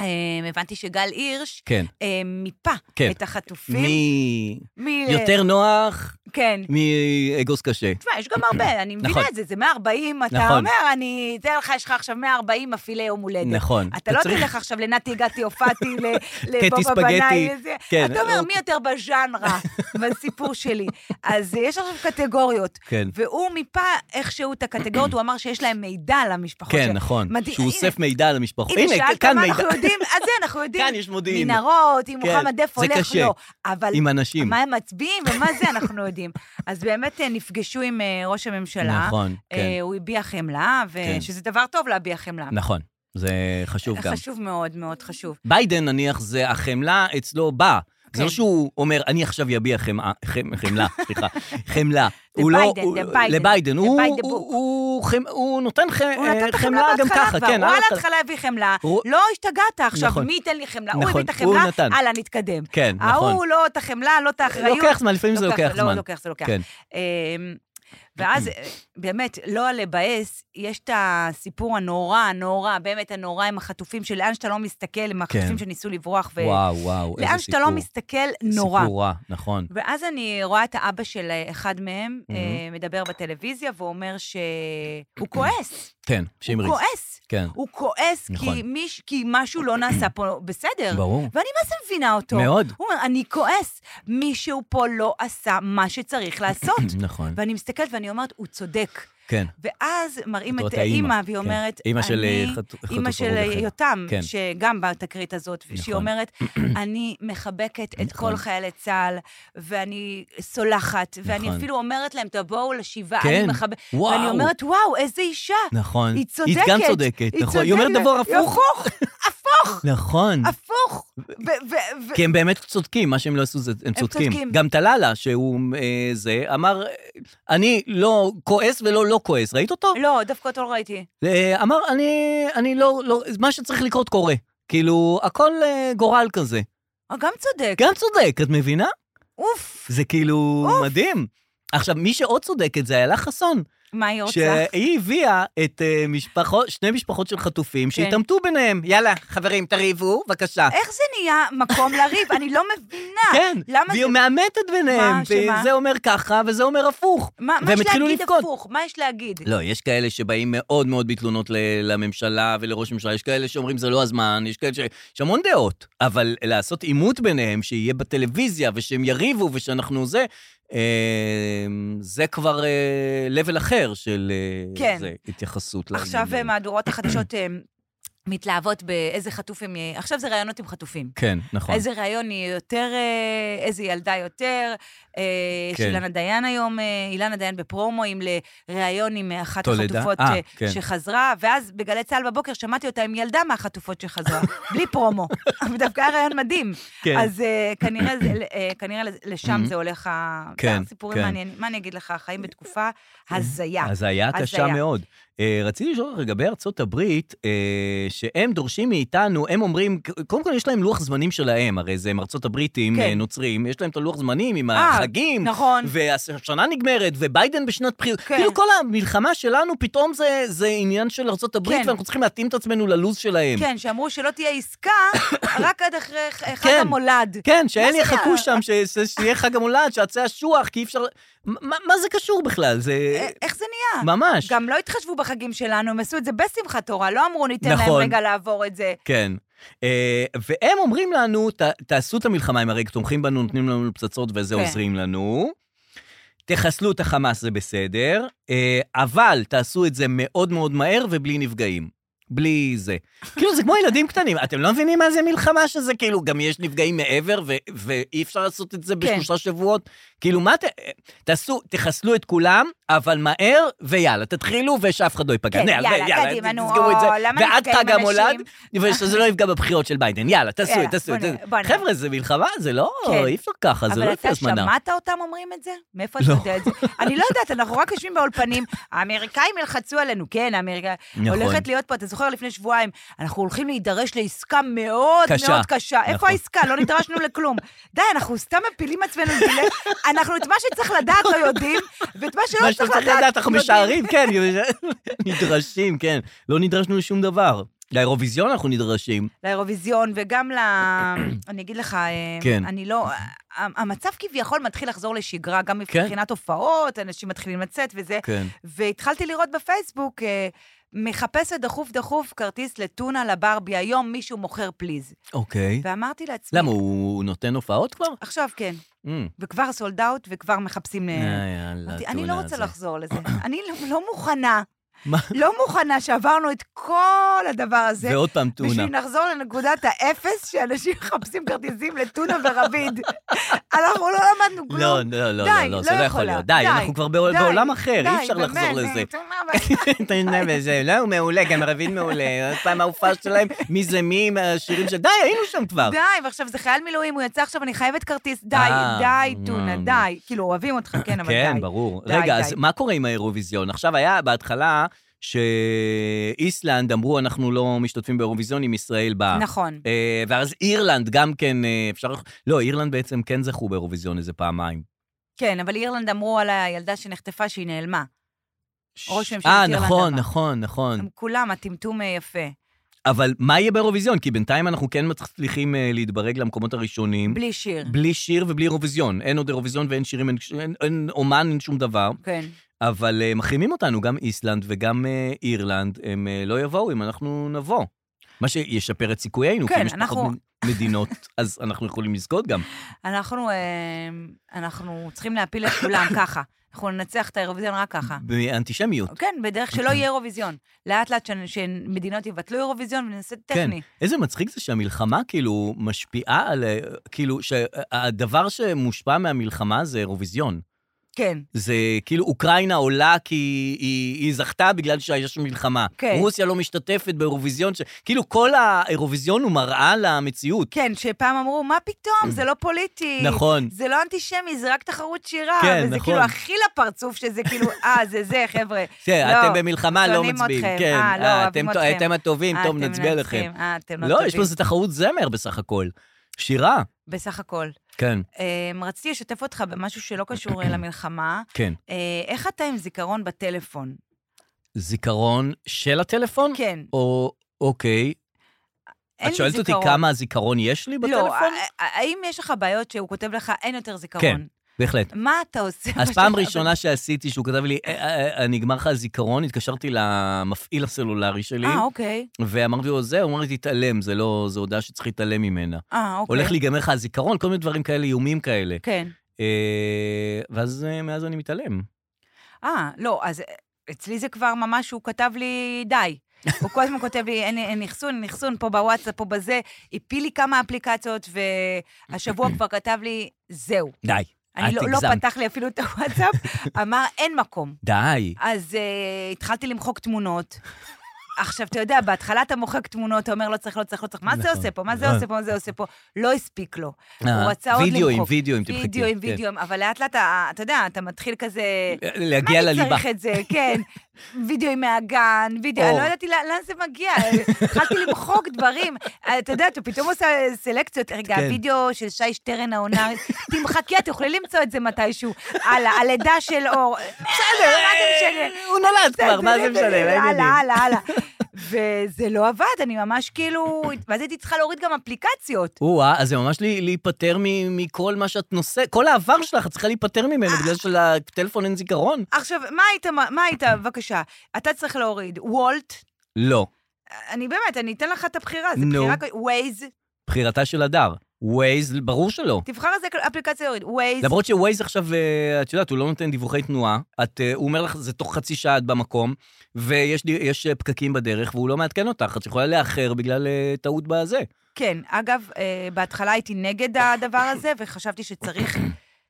C: אה, הבנתי שגל הירש
B: כן.
C: אה, מיפה
B: כן.
C: את החטופים.
B: מי...
C: מ-
B: יותר נוח
C: כן.
B: מאגוז קשה.
C: תשמע, יש גם הרבה, אני מבינה
B: נכון.
C: את זה, זה 140, אתה
B: נכון.
C: אומר, אני אתן לך, יש לך עכשיו 140 מפעילי יום הולדת.
B: נכון.
C: אתה לא
B: צריך-
C: תלך עכשיו לנתי הגעתי, הופעתי, ל-
B: קטי
C: לבובה
B: ספגטי,
C: בנאי.
B: כן.
C: אתה אומר,
B: או-
C: מי יותר בז'אנרה, בסיפור שלי. אז יש עכשיו קטגוריות.
B: כן.
C: והוא מיפה איכשהו את הקטגוריות, הוא אמר שיש להם מידע על המשפחות.
B: כן,
C: שלהם.
B: נכון.
C: מדהים.
B: שהוא
C: הנה,
B: אוסף מידע על המשפחות.
C: הנה,
B: הנה,
C: שאלת
B: כאן
C: מה
B: מידע.
C: אנחנו יודעים, אז זה אנחנו יודעים.
B: כאן יש מודיעין.
C: מנהרות, אם
B: כן,
C: מוחמד דף
B: זה
C: הולך,
B: קשה.
C: לא. אבל
B: עם אנשים.
C: מה הם מצביעים ומה זה אנחנו יודעים. אז באמת אה, נפגשו עם אה, ראש הממשלה.
B: נכון,
C: אה,
B: כן.
C: הוא הביע חמלה,
B: כן.
C: ושזה דבר טוב להביע חמלה.
B: נכון, זה חשוב גם.
C: חשוב מאוד, מאוד חשוב.
B: ביידן, נניח, זה החמלה אצלו באה. זה
C: כן.
B: לא שהוא אומר, אני עכשיו יביע חמאה- חמ- חמלה, סליחה, חמלה. הוא לא-
C: לביידן,
B: הוא-
C: לביידן.
B: לביידן, הוא-
C: לביידן
B: הוא-
C: בוק.
B: הוא חמ- הוא נותן ח-
C: הוא נתן את החמלה
B: אה, חמלה גם
C: בהתחלה
B: ככה,
C: כבר,
B: כן.
C: הוא על
B: ההתחלה.
C: ההתחלה הביא חמלה.
B: הוא-
C: לא השתגעת עכשיו,
B: נכון.
C: מי ייתן לי חמלה? הוא
B: נכון,
C: הביא את
B: הוא
C: החמלה,
B: נתן.
C: הלאה, נתקדם.
B: כן, נכון.
C: ההוא לא את החמלה, לא את האחריות.
B: לוקח זמן, לפעמים זה לוקח
C: לא,
B: זמן.
C: לוקח, זה לוקח.
B: כן.
C: אמ, ואז אה, באמת, לא לבאס, יש את הסיפור הנורא, הנורא, באמת הנורא עם החטופים, שלאן שאתה לא מסתכל, עם החטופים שניסו לברוח, ו-
B: כן. וואו, וואו, איזה סיפור.
C: לאן שאתה לא מסתכל, נורא.
B: סיפור רע, נכון.
C: ואז אני רואה את האבא של אחד מהם
B: Mhm.
C: אה, מדבר בטלוויזיה ואומר שהוא כועס.
B: כן,
C: הוא
B: שמרי.
C: כועס.
B: כן,
C: הוא כועס כי,
B: נכון.
C: מיש, כי משהו לא נעשה פה בסדר.
B: ברור.
C: ואני מה זה מבינה אותו.
B: מאוד.
C: הוא אומר, אני כועס, מישהו פה לא עשה מה שצריך לעשות.
B: נכון,
C: ואני מסתכלת ואני אומרת, הוא צודק.
B: כן.
C: ואז מראים
B: זאת
C: את
B: האמא,
C: האימא, והיא
B: כן.
C: אומרת,
B: אימא של,
C: אני-
B: אה, חט- חטוף
C: אימא של
B: הרוג אחר.
C: יותם,
B: כן.
C: שגם בתקרית הזאת, שהיא
B: נכון.
C: אומרת, אני מחבקת את כל
B: נכון.
C: חיילי צה"ל, ואני סולחת, ואני
B: נכון.
C: אפילו אומרת להם, תבואו לשבעה, אני
B: כן.
C: מחבקת.
B: וואו.
C: ואני אומרת, וואו, איזה אישה.
B: נכון.
C: היא צודקת.
B: היא גם צודקת, נכון. היא אומרת
C: צודקת.
B: דבר הפוך.
C: הפוך, הפוך,
B: נכון.
C: הפוך. ו- ו- ו-
B: כי הם באמת צודקים, מה שהם לא עשו זה, הם צודקים.
C: צודקים.
B: גם טלאלה, שהוא אה, זה, אמר, אני לא כועס ולא לא כועס. ראית אותו?
C: לא, דווקא אותו לא ראיתי.
B: אה, אמר, אני, אני לא, לא, מה שצריך לקרות קורה. כאילו, הכל אה, גורל כזה.
C: אה, גם צודק.
B: גם צודק, את מבינה?
C: אוף,
B: זה כאילו מדהים. עכשיו, מי שעוד צודקת זה איילה חסון,
C: מה היא רוצה?
B: שהיא הביאה את אה, משפחות, שני משפחות של חטופים שהתעמתו ביניהם. יאללה, חברים, תריבו, בבקשה.
C: כן. איך זה נהיה מקום לריב? אני לא מבינה.
B: כן,
C: למה
B: והיא
C: זה...
B: מאמתת ביניהם,
C: מה, שמה?
B: וזה אומר ככה וזה אומר הפוך.
C: מה, מה
B: והם
C: יש
B: התחילו
C: להגיד
B: לבכות.
C: הפוך? מה יש להגיד?
B: לא, יש כאלה שבאים מאוד מאוד בתלונות ל- לממשלה ולראש הממשלה, יש כאלה שאומרים זה לא הזמן, יש כאלה ש... יש המון דעות, אבל לעשות עימות ביניהם, שיהיה בטלוויזיה ושהם יריבו ושאנחנו זה, אה, זה כבר אה, level אחר של אה,
C: כן.
B: זה, התייחסות
C: עכשיו אה,
B: לעניינים.
C: מהדורות החדשות אה, מתלהבות באיזה חטוף הם... יהיה- עכשיו זה ראיונות עם חטופים.
B: כן, נכון.
C: איזה ראיון יהיה יותר, אה, איזה ילדה יותר. אה, יש
B: כן.
C: אילנה דיין היום, אה, אילנה דיין בפרומואים לראיון עם אה, אחת
B: תולדה?
C: החטופות
B: אה,
C: אה,
B: כן.
C: שחזרה, ואז בגלי צה"ל בבוקר שמעתי אותה עם ילדה מהחטופות שחזרה, בלי פרומו. אבל דווקא היה ראיון מדהים.
B: כן. Mm-hmm.
C: אז אה, כנראה זה- אה, כנראה לשם זה הולך, ה-
B: כן,
C: סיפורים
B: כן. אה,
C: מעניינים. מה אני אגיד לך, חיים בתקופה הזיה.
B: הזיה קשה
C: הזיה.
B: מאוד. אה, רציתי לשאול אותך לגבי ארצות הברית, אה, שהם דורשים מאיתנו, הם אומרים, קודם כל יש להם לוח זמנים שלהם, הרי זה הם ארצות הבריטים,
C: כן.
B: אה, נוצרים, יש להם את הלוח זמנים עם
C: אה,
B: החגים,
C: נכון.
B: והשנה נגמרת, וביידן בשנת בחירות.
C: כן.
B: כאילו כל המלחמה שלנו, פתאום זה, זה עניין של ארצות הברית,
C: כן.
B: ואנחנו צריכים להתאים את עצמנו ללו"ז שלהם.
C: כן, שאמרו שלא תהיה עסקה, רק עד אחרי ח- חג
B: כן.
C: המולד.
B: כן, שהם
C: מה זה?
B: יחכו שם, ש- ש- שיהיה חג המולד, שיצא השוח, כי אי אפשר... מה מה זה קשור בכלל? זה...
C: א- אה, איך זה נהיה?
B: ממש.
C: גם לא התחשבו בחגים שלנו, הם עשו את זה בשמחת תורה, לא אמרו ניתן להם
B: נכון.
C: רגע לעבור את זה.
B: כן. אה, והם אומרים לנו, "ת- תעשו את המלחמה, הם הרי תומכים בנו, נותנים לנו פצצות וזה
C: כן.
B: עוזרים לנו. תחסלו את החמאס, זה בסדר, אה, אבל תעשו את זה מאוד מאוד מהר ובלי נפגעים. בלי זה. כאילו, זה כמו ילדים קטנים, אתם לא מבינים מה זה מלחמה שזה, כאילו, גם יש נפגעים מעבר, ו- ואי אפשר לעשות את זה
C: כן.
B: בשלושה שבועות. כאילו, מה ת... תעשו, תחסלו את כולם, אבל מהר, ויאללה, תתחילו, ושאף אחד לא ייפגע.
C: כן,
B: נה,
C: יאללה,
B: ויאללה,
C: קדימה, נו,
B: תסגרו את זה.
C: או, למה
B: ועד
C: נפגעים
B: חג המולד,
C: אנשים?
B: ושזה לא יפגע בבחירות של ביידן. יאללה, תעשו,
C: יאללה,
B: את, תעשו.
C: אה. כן,
B: את
C: בוא נראה,
B: זה.
C: בוא נראה.
B: חבר'ה, זה מלחמה, זה לא,
C: כן.
B: אי אפשר ככה, זה לא
C: אבל
B: לפי
C: אתה
B: הזמנה.
C: שמעת אותם אומרים את זה? מאיפה אתה
B: לא.
C: יודע את זה? אני לא יודעת, אנחנו רק יושבים באולפנים, האמריקאים ילחצו עלינו, כן, האמריקאים.
B: נכון.
C: הולכת להיות פה, אתה זוכר לפני שבועיים, אנחנו הולכים להידרש לעסקה מאוד
B: קשה.
C: מאוד קשה. איפה
B: נכון.
C: העסקה? לא נדרשנו לכלום. די, אנחנו סתם מפילים עצמנו גילה, אנחנו את מה שצריך לדעת לא יודעים, ואת
B: מה
C: מה שלא
B: שאתה
C: צריך
B: צריך לדעת,
C: לדעת
B: אנחנו
C: יודעים.
B: משערים, כן, נדרשים, כן. לא נדרשנו לשום דבר. לאירוויזיון אנחנו נדרשים.
C: לאירוויזיון וגם ל... אני אגיד לך, אה,
B: כן.
C: אני לא... ה- המצב כביכול מתחיל לחזור לשגרה, גם
B: כן.
C: מבחינת הופעות, אנשים מתחילים לצאת וזה.
B: כן.
C: והתחלתי לראות בפייסבוק, אה, מחפשת דחוף דחוף כרטיס לטונה לברבי, היום מישהו מוכר פליז.
B: אוקיי.
C: ואמרתי לעצמי...
B: למה, הוא נותן הופעות כבר?
C: עכשיו כן,
B: אה,
C: וכבר סולד אאוט וכבר מחפשים... אה,
B: יאללה,
C: אמרתי, אני לא
B: טונה
C: רוצה
B: הזה.
C: לחזור לזה, אני לא- לא מוכנה,
B: מה?
C: לא מוכנה שעברנו את כל הדבר הזה.
B: ועוד פעם טונה.
C: בשביל נחזור לנקודת האפס, שאנשים מחפשים כרטיסים לטונה ורביד. אנחנו לא למדנו כלום.
B: לא, לא, לא,
C: די,
B: לא, לא, זה
C: לא
B: לא יכול
C: יכולה.
B: להיות. די,
C: די,
B: אנחנו כבר בעול-
C: די,
B: בעולם אחר, אי
C: די,
B: אפשר לחזור
C: באמת,
B: לזה.
C: טונה ורביד.
B: אתה יודע, וזה, לא, הוא מעולה, גם רביד מעולה. עוד פעם ההופעה שלהם, מי זה מי, השירים של... די, היינו שם כבר.
C: די, ועכשיו זה חייל מילואים, הוא יצא עכשיו, אני חייבת כרטיס. די,
B: אה,
C: די,
B: אה.
C: טונה, די. כאילו, אוהבים אותך, כן, אבל די.
B: כן, ברור.
C: די,
B: רגע,
C: די.
B: אז מה קורה עם האירוויזיון? עכשיו היה בהתחלה שאיסלנד אמרו, אנחנו לא משתתפים באירוויזיון אם ישראל באה.
C: נכון.
B: אה, ואז אירלנד גם כן, אה, אפשר... לא, אירלנד בעצם כן זכו באירוויזיון איזה פעמיים.
C: כן, אבל אירלנד אמרו על הילדה שנחטפה שהיא נעלמה. ראש ממשלת
B: אה,
C: אירלנד
B: נכון,
C: אמר.
B: נכון, נכון.
C: הם כולם, הטמטום אה, יפה.
B: אבל מה יהיה באירוויזיון? כי בינתיים אנחנו כן מצליחים אה, להתברג למקומות הראשונים.
C: בלי שיר.
B: בלי שיר ובלי אירוויזיון. אין עוד אירוויזיון ואין שירים, אין, אין, אין אומן, אין שום דבר.
C: כן.
B: אבל uh, מחרימים אותנו, גם איסלנד וגם uh, אירלנד, הם uh, לא יבואו אם אנחנו נבוא. מה שישפר את סיכויינו,
C: כן,
B: כי אם יש
C: אנחנו-
B: פחות מ- מדינות, אז אנחנו יכולים לזכות גם.
C: אנחנו, אה, אנחנו צריכים להפיל את כולם ככה. אנחנו ננצח את האירוויזיון רק ככה.
B: באנטישמיות.
C: כן, בדרך שלא יהיה אירוויזיון. לאט לאט ש- שמדינות יבטלו אירוויזיון ונעשה
B: כן.
C: טכני.
B: איזה מצחיק זה שהמלחמה כאילו משפיעה על... אה, כאילו, שהדבר שמושפע מהמלחמה זה אירוויזיון.
C: כן.
B: זה כאילו, אוקראינה עולה כי היא, היא זכתה בגלל שהיה שם מלחמה.
C: כן.
B: רוסיה לא משתתפת באירוויזיון, ש... כאילו כל האירוויזיון הוא מראה למציאות.
C: כן, שפעם אמרו, מה פתאום, זה לא פוליטי.
B: נכון.
C: זה לא אנטישמי, זה רק תחרות שירה.
B: כן,
C: וזה
B: נכון.
C: כאילו הכי לפרצוף שזה כאילו, אה, זה זה, חבר'ה.
B: כן,
C: לא,
B: אתם במלחמה לא
C: שונאים
B: מצביעים.
C: אתכם.
B: כן,
C: אה, לא,
B: אה,
C: אוהבים
B: אתם-
C: אתכם.
B: אתם הטובים,
C: אה,
B: טוב,
C: אתם
B: נצביע
C: מנצחים.
B: לכם.
C: אה, אתם לא
B: לא, יש פה
C: טובים.
B: איזה תחרות זמר בסך הכל. שירה.
C: בסך הכל.
B: כן,
C: אמ, רציתי לשתף אותך במשהו שלא קשור אה, למלחמה.
B: כן.
C: אה, איך אתה עם זיכרון בטלפון?
B: זיכרון של הטלפון?
C: כן,
B: או, אוקיי.
C: אין לי זיכרון.
B: את שואלת אותי כמה הזיכרון יש לי בטלפון?
C: לא, ה- ה- האם יש לך בעיות שהוא כותב לך, אין יותר
B: כן.
C: זיכרון?
B: בהחלט.
C: מה אתה עושה?
B: אז
C: בשלב
B: פעם
C: הזה?
B: ראשונה שעשיתי, שהוא כתב לי, "אה, אה, אה, נגמר לך הזיכרון, התקשרתי למפעיל הסלולרי שלי,
C: אה, אוקיי.
B: ואמרתי לו, זהו, הוא אמר לי, תתעלם, זה לא, זו הודעה שצריך להתעלם ממנה.
C: אה, אוקיי.
B: הולך להיגמר לך הזיכרון, כל מיני דברים כאלה, איומים כאלה.
C: כן.
B: אה, ואז אה, מאז אני מתעלם.
C: אה, לא, אז אה, אצלי זה כבר ממש, הוא כתב לי, די. הוא כל הזמן כותב לי, אין, אין אחסון, אין אחסון, פה בוואטסאפ, פה בזה. הפיל לי כמה אפליקציות, והשבוע כבר כתב לי, זהו.
B: די,
C: אני
B: את
C: לא, לא
B: הגזמת.
C: פתח לי אפילו את הוואטסאפ, אמר, אין מקום.
B: די.
C: אז אה, התחלתי למחוק תמונות. עכשיו, אתה יודע, בהתחלה אתה מוחק תמונות, אתה אומר, לא צריך, לא צריך, לא צריך, מה זה
B: נכון.
C: עושה פה, מה זה
B: נכון.
C: עושה פה, מה זה עושה פה, לא הספיק לו.
B: אה,
C: הוא רצה עוד למחוק.
B: וידאוים, וידאוים, תמחקי.
C: וידאוים,
B: כן.
C: וידאוים, אבל לאט לאט, אה, אתה יודע, אתה מתחיל כזה...
B: להגיע
C: מה
B: לליבה.
C: אני צריך את זה, כן. וידאו מהגן, וידאו,
B: או.
C: אני לא ידעתי לאן לאן זה מגיע, התחלתי למחוק דברים. אתה יודע, אתה פתאום עושה סלקציות, רגע,
B: כן.
C: הוידאו של שי שטרן העונה, תמחקי, את יכולה למצוא את זה מתישהו. הלאה, הלידה של אור. בסדר, מה זה משנה?
B: הוא נולד כבר, מה זה משנה, מה העניינים?
C: הלאה, הלאה, הלאה. וזה לא עבד, אני ממש כאילו, ואז הייתי צריכה להוריד גם אפליקציות.
B: או-אה, אז זה ממש לי- להיפטר מ- מכל מה שאת נושאת, כל העבר שלך, את צריכה להיפטר ממנו
C: אה.
B: בגלל שלטלפון אין זיכרון?
C: עכשיו, מה היית, מה היית, בבקשה, אתה צריך להוריד וולט,
B: לא.
C: אני באמת, אני אתן לך את הבחירה, זו
B: נו.
C: בחירה, כ- Waze,
B: בחירתה של הדר. ווייז, ברור שלא.
C: תבחר איזה אפליקציה להוריד, Waze,
B: למרות שווייז עכשיו, אה, את יודעת, הוא לא נותן דיווחי תנועה. את, אה, הוא אומר לך, זה תוך חצי שעה את במקום, ויש לי- יש, אה, פקקים בדרך, והוא לא מעדכן אותך, את יכולה לאחר בגלל אה, טעות בזה.
C: כן, אגב, אה, בהתחלה הייתי נגד הדבר הזה, וחשבתי שצריך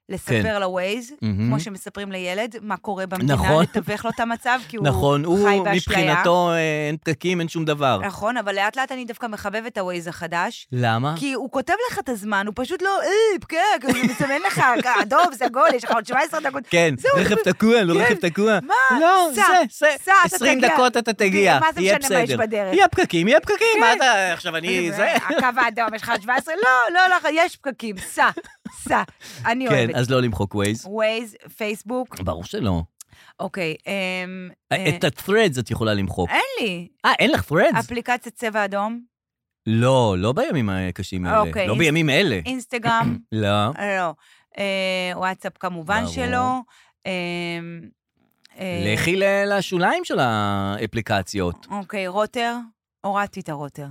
C: לספר ל-Waze,
B: כן. מהמם.
C: כמו שמספרים לילד, מה קורה במדינה,
B: נכון.
C: לתווך לו את המצב, כי הוא
B: נכון, הוא
C: חי באשליה.
B: מבחינתו אה, אין פקקים, אין שום דבר.
C: נכון, אבל לאט לאט אני דווקא מחבבת את ה-Waze החדש.
B: למה?
C: כי הוא כותב לך את הזמן, הוא פשוט לא, אה, פקק, הוא מסמן לך, אדום, סגול, יש לך עוד 17 דקות.
B: כן,
C: זהו,
B: רכב
C: זה-
B: תקוע, לא
C: כן.
B: רכב תקוע.
C: מה?
B: לא,
C: סע,
B: זה,
C: סע,
B: זה,
C: אתה
B: 20
C: תגיע.
B: דקות אתה תגיע,
C: מה זה
B: יהיה
C: משנה מה יש
B: בסדר.
C: בדרך?
B: יהיה פקקים, יהיה פקקים, מה
C: כן.
B: אתה, עכשיו אני, זה...
C: הקו האדום, יש לך עוד 17, לא, לא, לא, יש פקקים, סע, סע. אני
B: כן,
C: אוהבת.
B: אז לא למחוק ווייז.
C: ווייז, פייסבוק,
B: ברור שלא.
C: אוקיי, אמ, אה,
B: את ה-threads את יכולה למחוק.
C: אין לי.
B: אה, אין לך threads?
C: אפליקציית צבע אדום,
B: לא, לא בימים הקשים האלה.
C: אוקיי,
B: לא
C: אינס-
B: בימים אלה.
C: אינסטגרם,
B: לא.
C: לא. אה, וואטסאפ כמובן
B: ברור.
C: שלא. אמ, אה,
B: לכי ל- לשוליים של האפליקציות.
C: אוקיי, רוטר, הורדתי את הרוטר.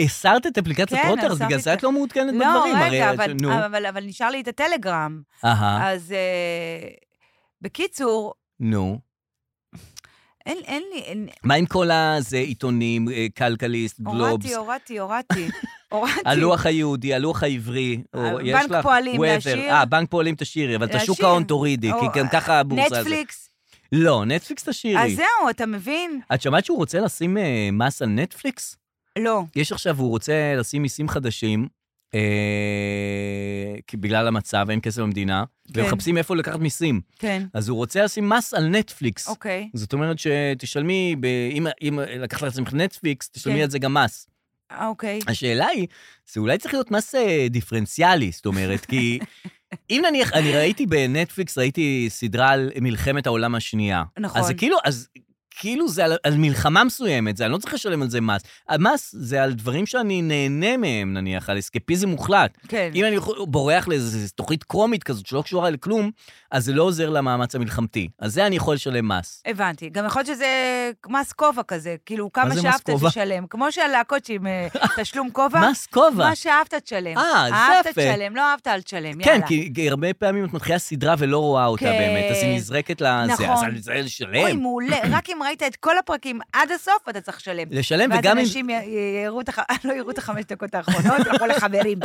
B: הסרת את אפליקציית
C: כן,
B: רוטר, אז
C: הסרתי
B: בגלל
C: את
B: זה את
C: זה.
B: לא מעודכנת
C: לא,
B: בדברים.
C: רגע,
B: הרי-
C: אבל-
B: נו,
C: אבל אבל נשאר לי את הטלגרם.
B: אהה,
C: אז אה, בקיצור,
B: נו.
C: אין אין לי, אין-
B: מה עם כל הזה, עיתונים, אה, כלכליסט, גלובס,
C: הורדתי, הורדתי, הורדתי. הורדתי.
B: הלוח היהודי, הלוח העברי, או
C: אה,
B: יש
C: בנק
B: לך...
C: פועלים
B: whatever.
C: להשאיר.
B: אה, בנק פועלים תשאירי, אבל את השוק
C: להשאיר.
B: ההון תורידי, כי
C: או,
B: גם ככה הבורסה... הזאת-
C: נטפליקס.
B: לא, נטפליקס
C: אז
B: תשאירי.
C: זהו, אתה מבין?
B: את שמעת שהוא רוצה לשים אה, מס על נטפליקס?
C: לא.
B: יש עכשיו, הוא רוצה לשים מיסים חדשים, אה, כי בגלל המצב, אין כסף במדינה, והם
C: כן.
B: מחפשים איפה לקחת מיסים.
C: כן,
B: אז הוא רוצה לשים מס על נטפליקס.
C: אוקיי.
B: זאת אומרת שתשלמי, ב- אם- אם לקחת לעצמך נטפליקס, תשלמי
C: כן.
B: על זה גם מס.
C: אה, אוקיי.
B: השאלה היא, זה אולי צריך להיות מס אה, דיפרנציאלי, זאת אומרת, כי אם נניח, אני ראיתי בנטפליקס, ראיתי סדרה על מלחמת העולם השנייה.
C: נכון.
B: אז זה כאילו, אז כאילו זה על, על מלחמה מסוימת, זה, אני לא צריך לשלם על זה מס. המס זה על דברים שאני נהנה מהם, נניח, על אסקפיזם מוחלט.
C: כן.
B: אם אני יכול- בורח לאיזו תוכנית קרומית כזאת שלא קשורה לכלום, אז זה לא עוזר למאמץ המלחמתי. על זה אני יכול לשלם מס.
C: הבנתי. גם יכול להיות שזה מס כובע כזה, כאילו כמה
B: זה מס
C: שאהבת
B: כובע?
C: תשלם. כמו שהלהקות עם אה, תשלום כובע,
B: מס כובע.
C: מה שאהבת תשלם.
B: אה, זה
C: אהבת
B: יפה.
C: תשלם, לא אהבת אל תשלם,
B: כן,
C: יאללה.
B: כי כי הרבה פעמים את מתחילה סדרה ולא רואה אותה
C: כן.
B: באמת, אז היא נזרקת לזה,
C: נכון.
B: אז אני צריך
C: אוי,
B: לשלם.
C: מעולה, רק אם ראית את כל הפרקים עד הסוף, אתה צריך לשלם.
B: לשלם,
C: ואז
B: וגם אם...
C: אנשים י- י- יראו את הח- לא יראו את החמש דקות האחרונות, ילכו לחברים.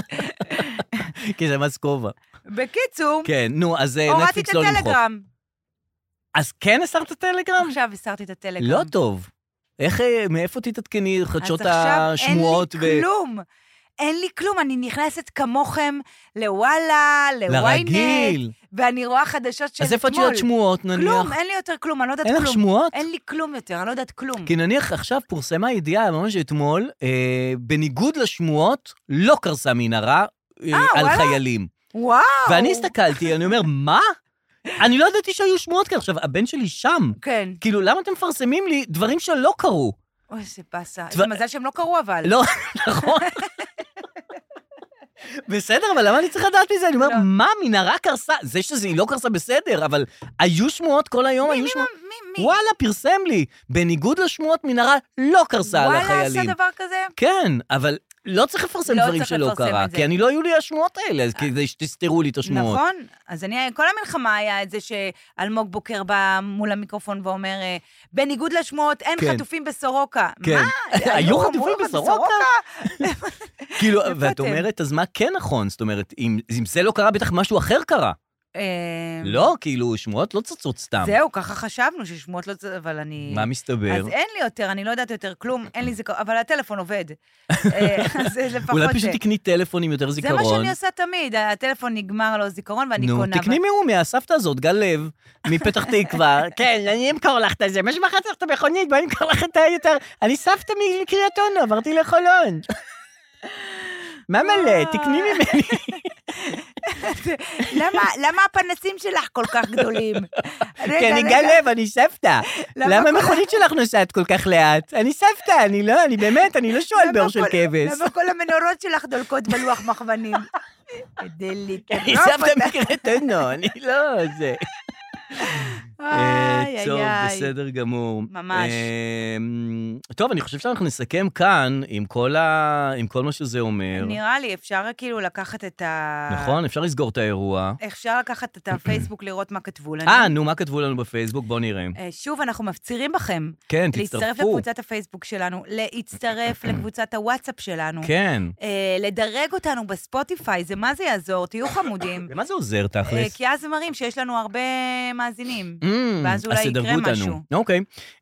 B: כי זה מס כובע.
C: בקיצור,
B: כן, נו, אז אה,
C: הורדתי את
B: נטפליקס לא למחוק.
C: הטלגרם.
B: אז כן הסרת טלגרם?
C: עכשיו הסרתי את הטלגרם.
B: לא טוב. איך, אה, מאיפה תתעדכני חדשות השמועות?
C: אז עכשיו
B: ו-
C: אין לי כלום. אין לי כלום, אני נכנסת כמוכם לוואלה, לוויינט,
B: לרגיל.
C: ואני רואה חדשות של אתמול.
B: אז איפה את יודעת שמועות, נניח?
C: כלום, אין לי יותר כלום, אני לא יודעת
B: אין
C: כלום.
B: לך שמועות? כן.
C: אין לי כלום יותר, אני לא יודעת כלום.
B: כי נניח עכשיו פורסמה ידיעה ממש אתמול, אה, בניגוד לשמועות, לא קרסה מנהרה אה, על
C: וואלה.
B: חיילים.
C: וואו.
B: ואני הסתכלתי, אני אומר, מה? אני לא ידעתי שהיו שמועות כאלה. עכשיו, הבן שלי שם.
C: כן.
B: כאילו, למה אתם מפרסמים לי דברים שלא קרו?
C: אוי, זה באסה.
B: דבר-
C: זה מזל שהם לא קרו אבל.
B: לא, נכון. בסדר, אבל למה אני צריך לדעת מזה? אני אומר,
C: לא.
B: מה, מנהרה קרסה? זה שזה היא לא קרסה בסדר, אבל היו שמועות כל היום, היו שמועות.
C: מי, מי?
B: וואלה, פרסם לי. בניגוד לשמועות, מנהרה לא קרסה על
C: וואלה, עשה
B: החיילים.
C: דבר כזה?
B: כן, אבל לא צריך לפרסם
C: לא
B: דברים
C: צריך
B: שלא
C: לפרסם
B: קרה,
C: את זה.
B: כי אני לא היו לי השמועות האלה, אז כדי שתסתרו לי את השמועות.
C: נכון. אז אני, כל המלחמה היה את זה שאלמוג בוקר בא מול המיקרופון ואומר, אה, בניגוד לשמועות, אין
B: כן.
C: חטופים בסורוקה.
B: כן.
C: מה?
B: היו
C: אמרו
B: חטופים
C: לך
B: בסורוקה? כאילו,
C: איפה
B: ואת
C: אתם?
B: אומרת, אז מה כן נכון? זאת אומרת, אם, אם זה לא קרה, בטח משהו אחר קרה.
C: אה,
B: לא, כאילו, שמועות לא צצות סתם.
C: זהו, ככה חשבנו ששמועות לא... צ- אבל אני...
B: מה מסתבר?
C: אז אין לי יותר, אני לא יודעת יותר כלום, אין לי זיכרון, אבל הטלפון עובד. אה, אז זה לפחות...
B: אולי
C: זה.
B: פשוט תקני טלפון עם יותר
C: זה
B: זיכרון.
C: מה שאני עושה תמיד, הטלפון נגמר לו הזיכרון ואני
B: נו,
C: קונה.
B: תקני מאומיה, הסבתא הזאת, גל לב, מפתח תקווה. כן, אני אמכור לך את זה, מה שמכרת לך את המכונית, בואי אמכור לך את היותר. אני סבתא מקריית אונו, עברתי לחולון. מה מלא, תקני ממני.
C: למה- למה הפנסים שלך כל כך גדולים? רגע,
B: כן, אני
C: רגע.
B: גל לב, אני סבתא.
C: למה
B: למה
C: כל-
B: המכונית שלך נוסעת כל כך לאט? אני סבתא, אני לא, אני באמת, אני לא שועל
C: למה
B: באור של
C: כל-
B: כבש.
C: למה כל המנורות שלך דולקות בלוח מכוונים? כדי
B: אני
C: לטרוף
B: סבתא
C: אותה.
B: מקריית אונו, אני לא זה. אה,
C: איי, איי,
B: טוב,
C: איי.
B: בסדר גמור.
C: ממש.
B: אה, טוב, אני חושב שאנחנו נסכם כאן עם כל ה- עם כל מה שזה אומר.
C: נראה לי, אפשר כאילו לקחת את ה...
B: נכון, אפשר לסגור את האירוע.
C: אפשר לקחת את הפייסבוק לראות מה כתבו לנו.
B: אה, נו, מה כתבו לנו בפייסבוק? בואו נראה.
C: אה, שוב, אנחנו מפצירים בכם
B: כן,
C: להצטרף
B: תצטרפו.
C: לקבוצת הפייסבוק שלנו, להצטרף לקבוצת הוואטסאפ שלנו,
B: כן.
C: אה, לדרג אותנו בספוטיפיי, זה מה זה יעזור, תהיו חמודים.
B: למה זה עוזר,
C: אה,
B: תכלס?
C: כי אז זה מראים שיש לנו הרבה מאזינים.
B: Mm,
C: ואז אולי
B: אז תדרגו
C: יקרה
B: אותנו.
C: משהו.
B: אוקיי.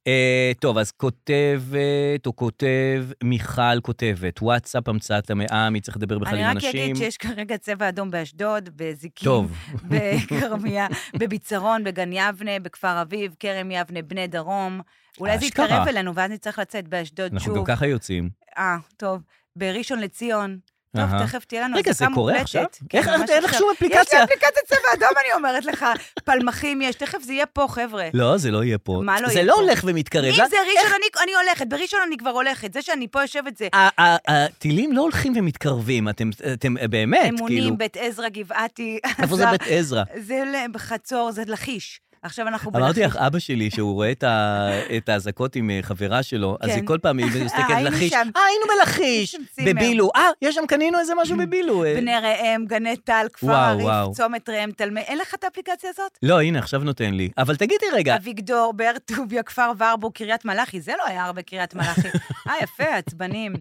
B: אה, טוב, אז כותבת, או כותב, מיכל כותבת, וואטסאפ, המצאת המאה, מי צריך לדבר בכלל
C: אני
B: עם
C: רק
B: אנשים.
C: אגיד שיש כרגע צבע אדום באשדוד, בזיקים,
B: טוב.
C: בכרמיה, בביצרון, בגן יבנה, בכפר אביב, כרם יבנה, בני דרום. אולי זה
B: אשכרה.
C: יתקרב אלינו, ואז נצטרך לצאת באשדוד
B: אנחנו גם
C: שוב.
B: ככה יוצאים.
C: אה, טוב. בראשון לציון. טוב,
B: אהה.
C: תכף תהיה לנו
B: רגע, זה
C: אזעקה
B: קורה
C: מוקלטת.
B: עכשיו?
C: כן,
B: איך-
C: ממש
B: אין לך
C: עכשיו.
B: שום
C: יש לי
B: אפליקציה?
C: אפליקציית צבע אדום, אני אומרת לך. פלמחים יש, תכף זה יהיה פה, חבר'ה.
B: לא, זה לא יהיה פה.
C: מה לא
B: זה
C: יהיה
B: לא
C: פה?
B: הולך ומתקרב.
C: אם
B: לא-
C: זה ראשון, אני- אני הולכת. בראשון אני כבר הולכת. זה שאני פה יושבת זה
B: ה- ה- הטילים לא הולכים ומתקרבים, אתם, אתם באמת, כאילו,
C: אמונים, בית עזרא, גבעתי.
B: איפה זה
C: עזר.
B: בית עזרא?
C: זה ל- בחצור, זה לכיש. עכשיו אנחנו
B: אמרתי
C: בלכיש.
B: לך, אה, אבא שלי, שהוא רואה את ה- את האזעקות עם אה, חברה שלו, אז
C: כן.
B: היא כל פעם, היא מסתכלת
C: היינו
B: לכיש, אה,
C: שם.
B: היינו בלכיש,
C: יש שם צימר.
B: בבילו, אה, יש שם, קנינו איזה משהו בבילו. אה."
C: בני ראם, גני טל, כפר
B: וואו,
C: הריף,
B: וואו.
C: צומת ראם, תלמי. אין לך את האפליקציה הזאת?
B: לא, הנה, עכשיו נותן לי. אבל תגידי רגע,
C: אביגדור, באר טוביה, כפר ורבו, קריית מלאכי, זה לא היה הרבה קריית מלאכי. אה, יפה, עצבנים.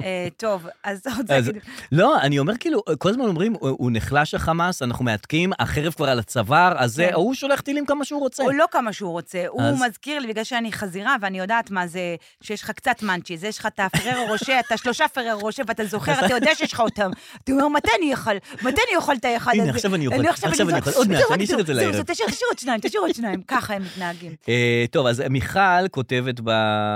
C: אה, טוב, אז עוד
B: אז-
C: זה...
B: לא, אני אומר כאילו, כל הזמן אומרים, הוא הוא נחלש החמאס, אנחנו מהתקים, החרב כבר על הצוואר, אז זה,
C: כן.
B: ההוא שולח טילים כמה שהוא רוצה.
C: הוא לא כמה שהוא רוצה, הוא
B: אז-
C: מזכיר לי, בגלל שאני חזירה, ואני יודעת מה זה, שיש לך קצת מאנצ'יז, יש לך את הפררו רושה, אתה שלושה פררו רושה, ואתה זוכר, אתה יודע שיש לך אותם. אתה אומר, מתי אני אוכל? מתי אני אוכל את האחד הזה?
B: הנה, עכשיו אני אוכל, עכשיו אני
C: זו-
B: אוכל. עוד מעט,
C: זהו,
B: אני אשאיר את זה
C: זהו,
B: לערב.
C: זהו, תשאיר תשאיר עוד שניים, תשאיר עוד שניים, ככה הם מתנהגים.
B: אה, טוב, אז מיכל כותבת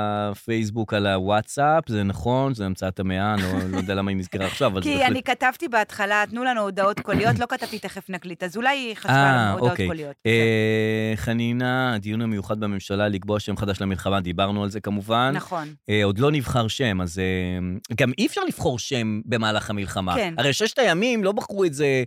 B: בפייסבוק על הוואטסאפ, זה נכון, זה המצאת המאה, אני לא- לא יודע למה היא נזכרה עכשיו, אבל זה
C: כי
B: בהחלט...
C: אני כתבתי בהתחלה, תנו לנו הודעות קוליות, לא כתבתי תכף נקליט, אז אולי היא חשבה
B: אה,
C: לנו הודעות
B: אוקיי.
C: קוליות.
B: אה, חנינה, הדיון המיוחד בממשלה לקבוע שם חדש למלחמה, דיברנו על זה כמובן.
C: נכון.
B: אה, עוד לא נבחר שם, אז אה, גם אי אפשר לבחור שם במהלך המלחמה.
C: כן.
B: הרי ששת הימים לא בחרו את זה,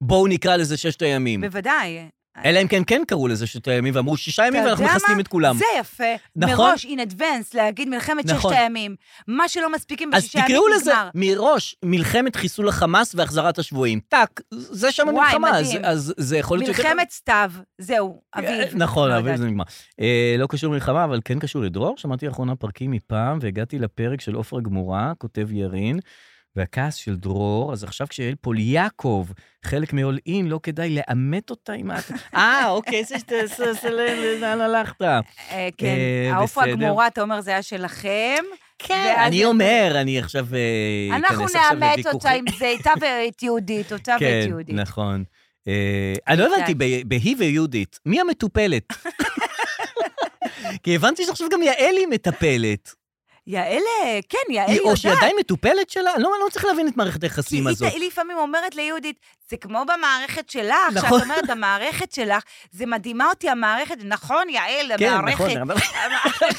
B: בואו נקרא לזה ששת הימים.
C: בוודאי.
B: אלא אם כן כן קראו לזה ששת הימים, ואמרו שישה ימים
C: אתה
B: ואנחנו
C: יודע
B: מחסלים
C: מה?
B: את כולם.
C: זה יפה.
B: נכון.
C: מראש, in advance, להגיד מלחמת ששת
B: נכון.
C: הימים. מה שלא מספיקים
B: אז
C: בשישה ימים
B: תקראו לזה
C: נגמר.
B: מראש מלחמת חיסול החמאס והחזרת השבויים. טאק, זה שם
C: וואי,
B: המלחמה, אז,
C: מדהים.
B: אז זה יכול להיות שיותר...
C: מלחמת סתיו, זהו,
B: אה,
C: אביב.
B: נכון,
C: לא
B: אביב
C: יודעת.
B: זה נגמר. אה, לא קשור למלחמה, אבל כן קשור לדרור. שמעתי לאחרונה פרקים מפעם, והגעתי לפרק של עופרה גמורה, כותב ירין, והכעס של דרור, אז עכשיו כשיעל פוליאקוב חלק מעול אין, לא כדאי לאמת אותה עם ה... אה, אוקיי, זה שאתה... זה- זה- זה- לאן הלכת?
C: אה, כן,
B: אה,
C: העופרה
B: בסדר.
C: הגמורה, אתה אומר, זה היה שלכם.
B: כן.
C: ואז-
B: אני אומר, אני עכשיו... אה,
C: אנחנו
B: אכנס עכשיו
C: נאמת
B: לוויכוחים.
C: אותה עם זה, איתה ואת יהודית, אותה ואת יהודית.
B: כן, נכון. אה, אני לא הבנתי, ב- בהיא ויהודית, מי המטופלת? כי הבנתי שעכשיו גם יעל היא מטפלת.
C: יעל, אה, כן, יעל
B: היא או שהיא
C: יודעת.
B: עדיין מטופלת שלה? אני לא אני לא מצליח להבין את מערכת
C: כי
B: היחסים
C: היא
B: הזאת.
C: ת- היא לפעמים אומרת ליהודית, זה כמו במערכת שלך,
B: נכון.
C: שאת אומרת, המערכת שלך, זה מדהימה אותי המערכת, נכון, יעל,
B: כן,
C: המערכת.
B: נכון, אבל-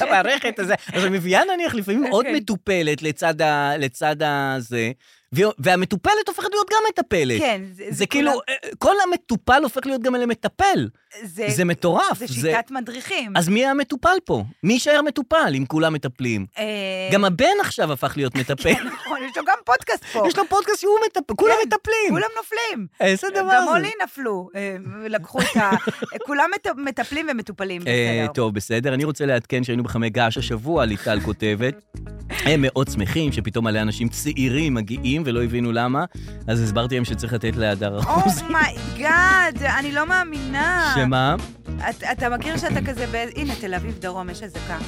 B: המערכת הזה. אז מביאה נניח לפעמים
C: כן,
B: עוד
C: כן.
B: מטופלת לצד ה- לצד הזה, וה- והמטופלת הופכת להיות גם מטפלת.
C: כן,
B: זה כאילו, אה, כל המטופל הופך להיות גם למטפל.
C: כולם-
B: זה מטורף.
C: זה
B: זה-
C: שיטת מדריכים.
B: אז מי המטופל פה? מי יישאר מטופל אם כולם מטפלים?
C: אה,
B: גם הבן עכשיו הפך להיות מטפל.
C: כן, נכון, יש לו גם פודקאסט פה. כן,
B: יש לו פודקאסט שהוא מטפל, כולם מטפלים.
C: כולם נופלים.
B: איזה
C: גם
B: דבר זה.
C: הולי נפלו, אה, לקחו את ה... כולם מט- מטפלים ומטופלים,
B: אה,
C: בסדר.
B: טוב, בסדר. אני רוצה לעדכן שהיינו בחמי געש השבוע, ליטל כותבת. הם מאוד שמחים שפתאום מלא אנשים צעירים מגיעים ולא הבינו למה, אז הסברתי להם שצריך לתת להדר אחוז.
C: Oh אומייגאד, אני לא מאמינה.
B: שמה?
C: את- אתה מכיר שאתה כזה ב... הנה, תל אביב דרום, יש אזעקה.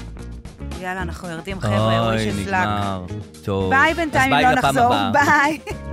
C: יאללה, אנחנו יורדים, חבר'ה,
B: אוי,
C: וויש אס
B: נגמר. טוב.
C: ביי
B: אז
C: בינתיים,
B: ביי
C: אם לא
B: לפעם
C: נחזור.
B: הבאה.
C: ביי.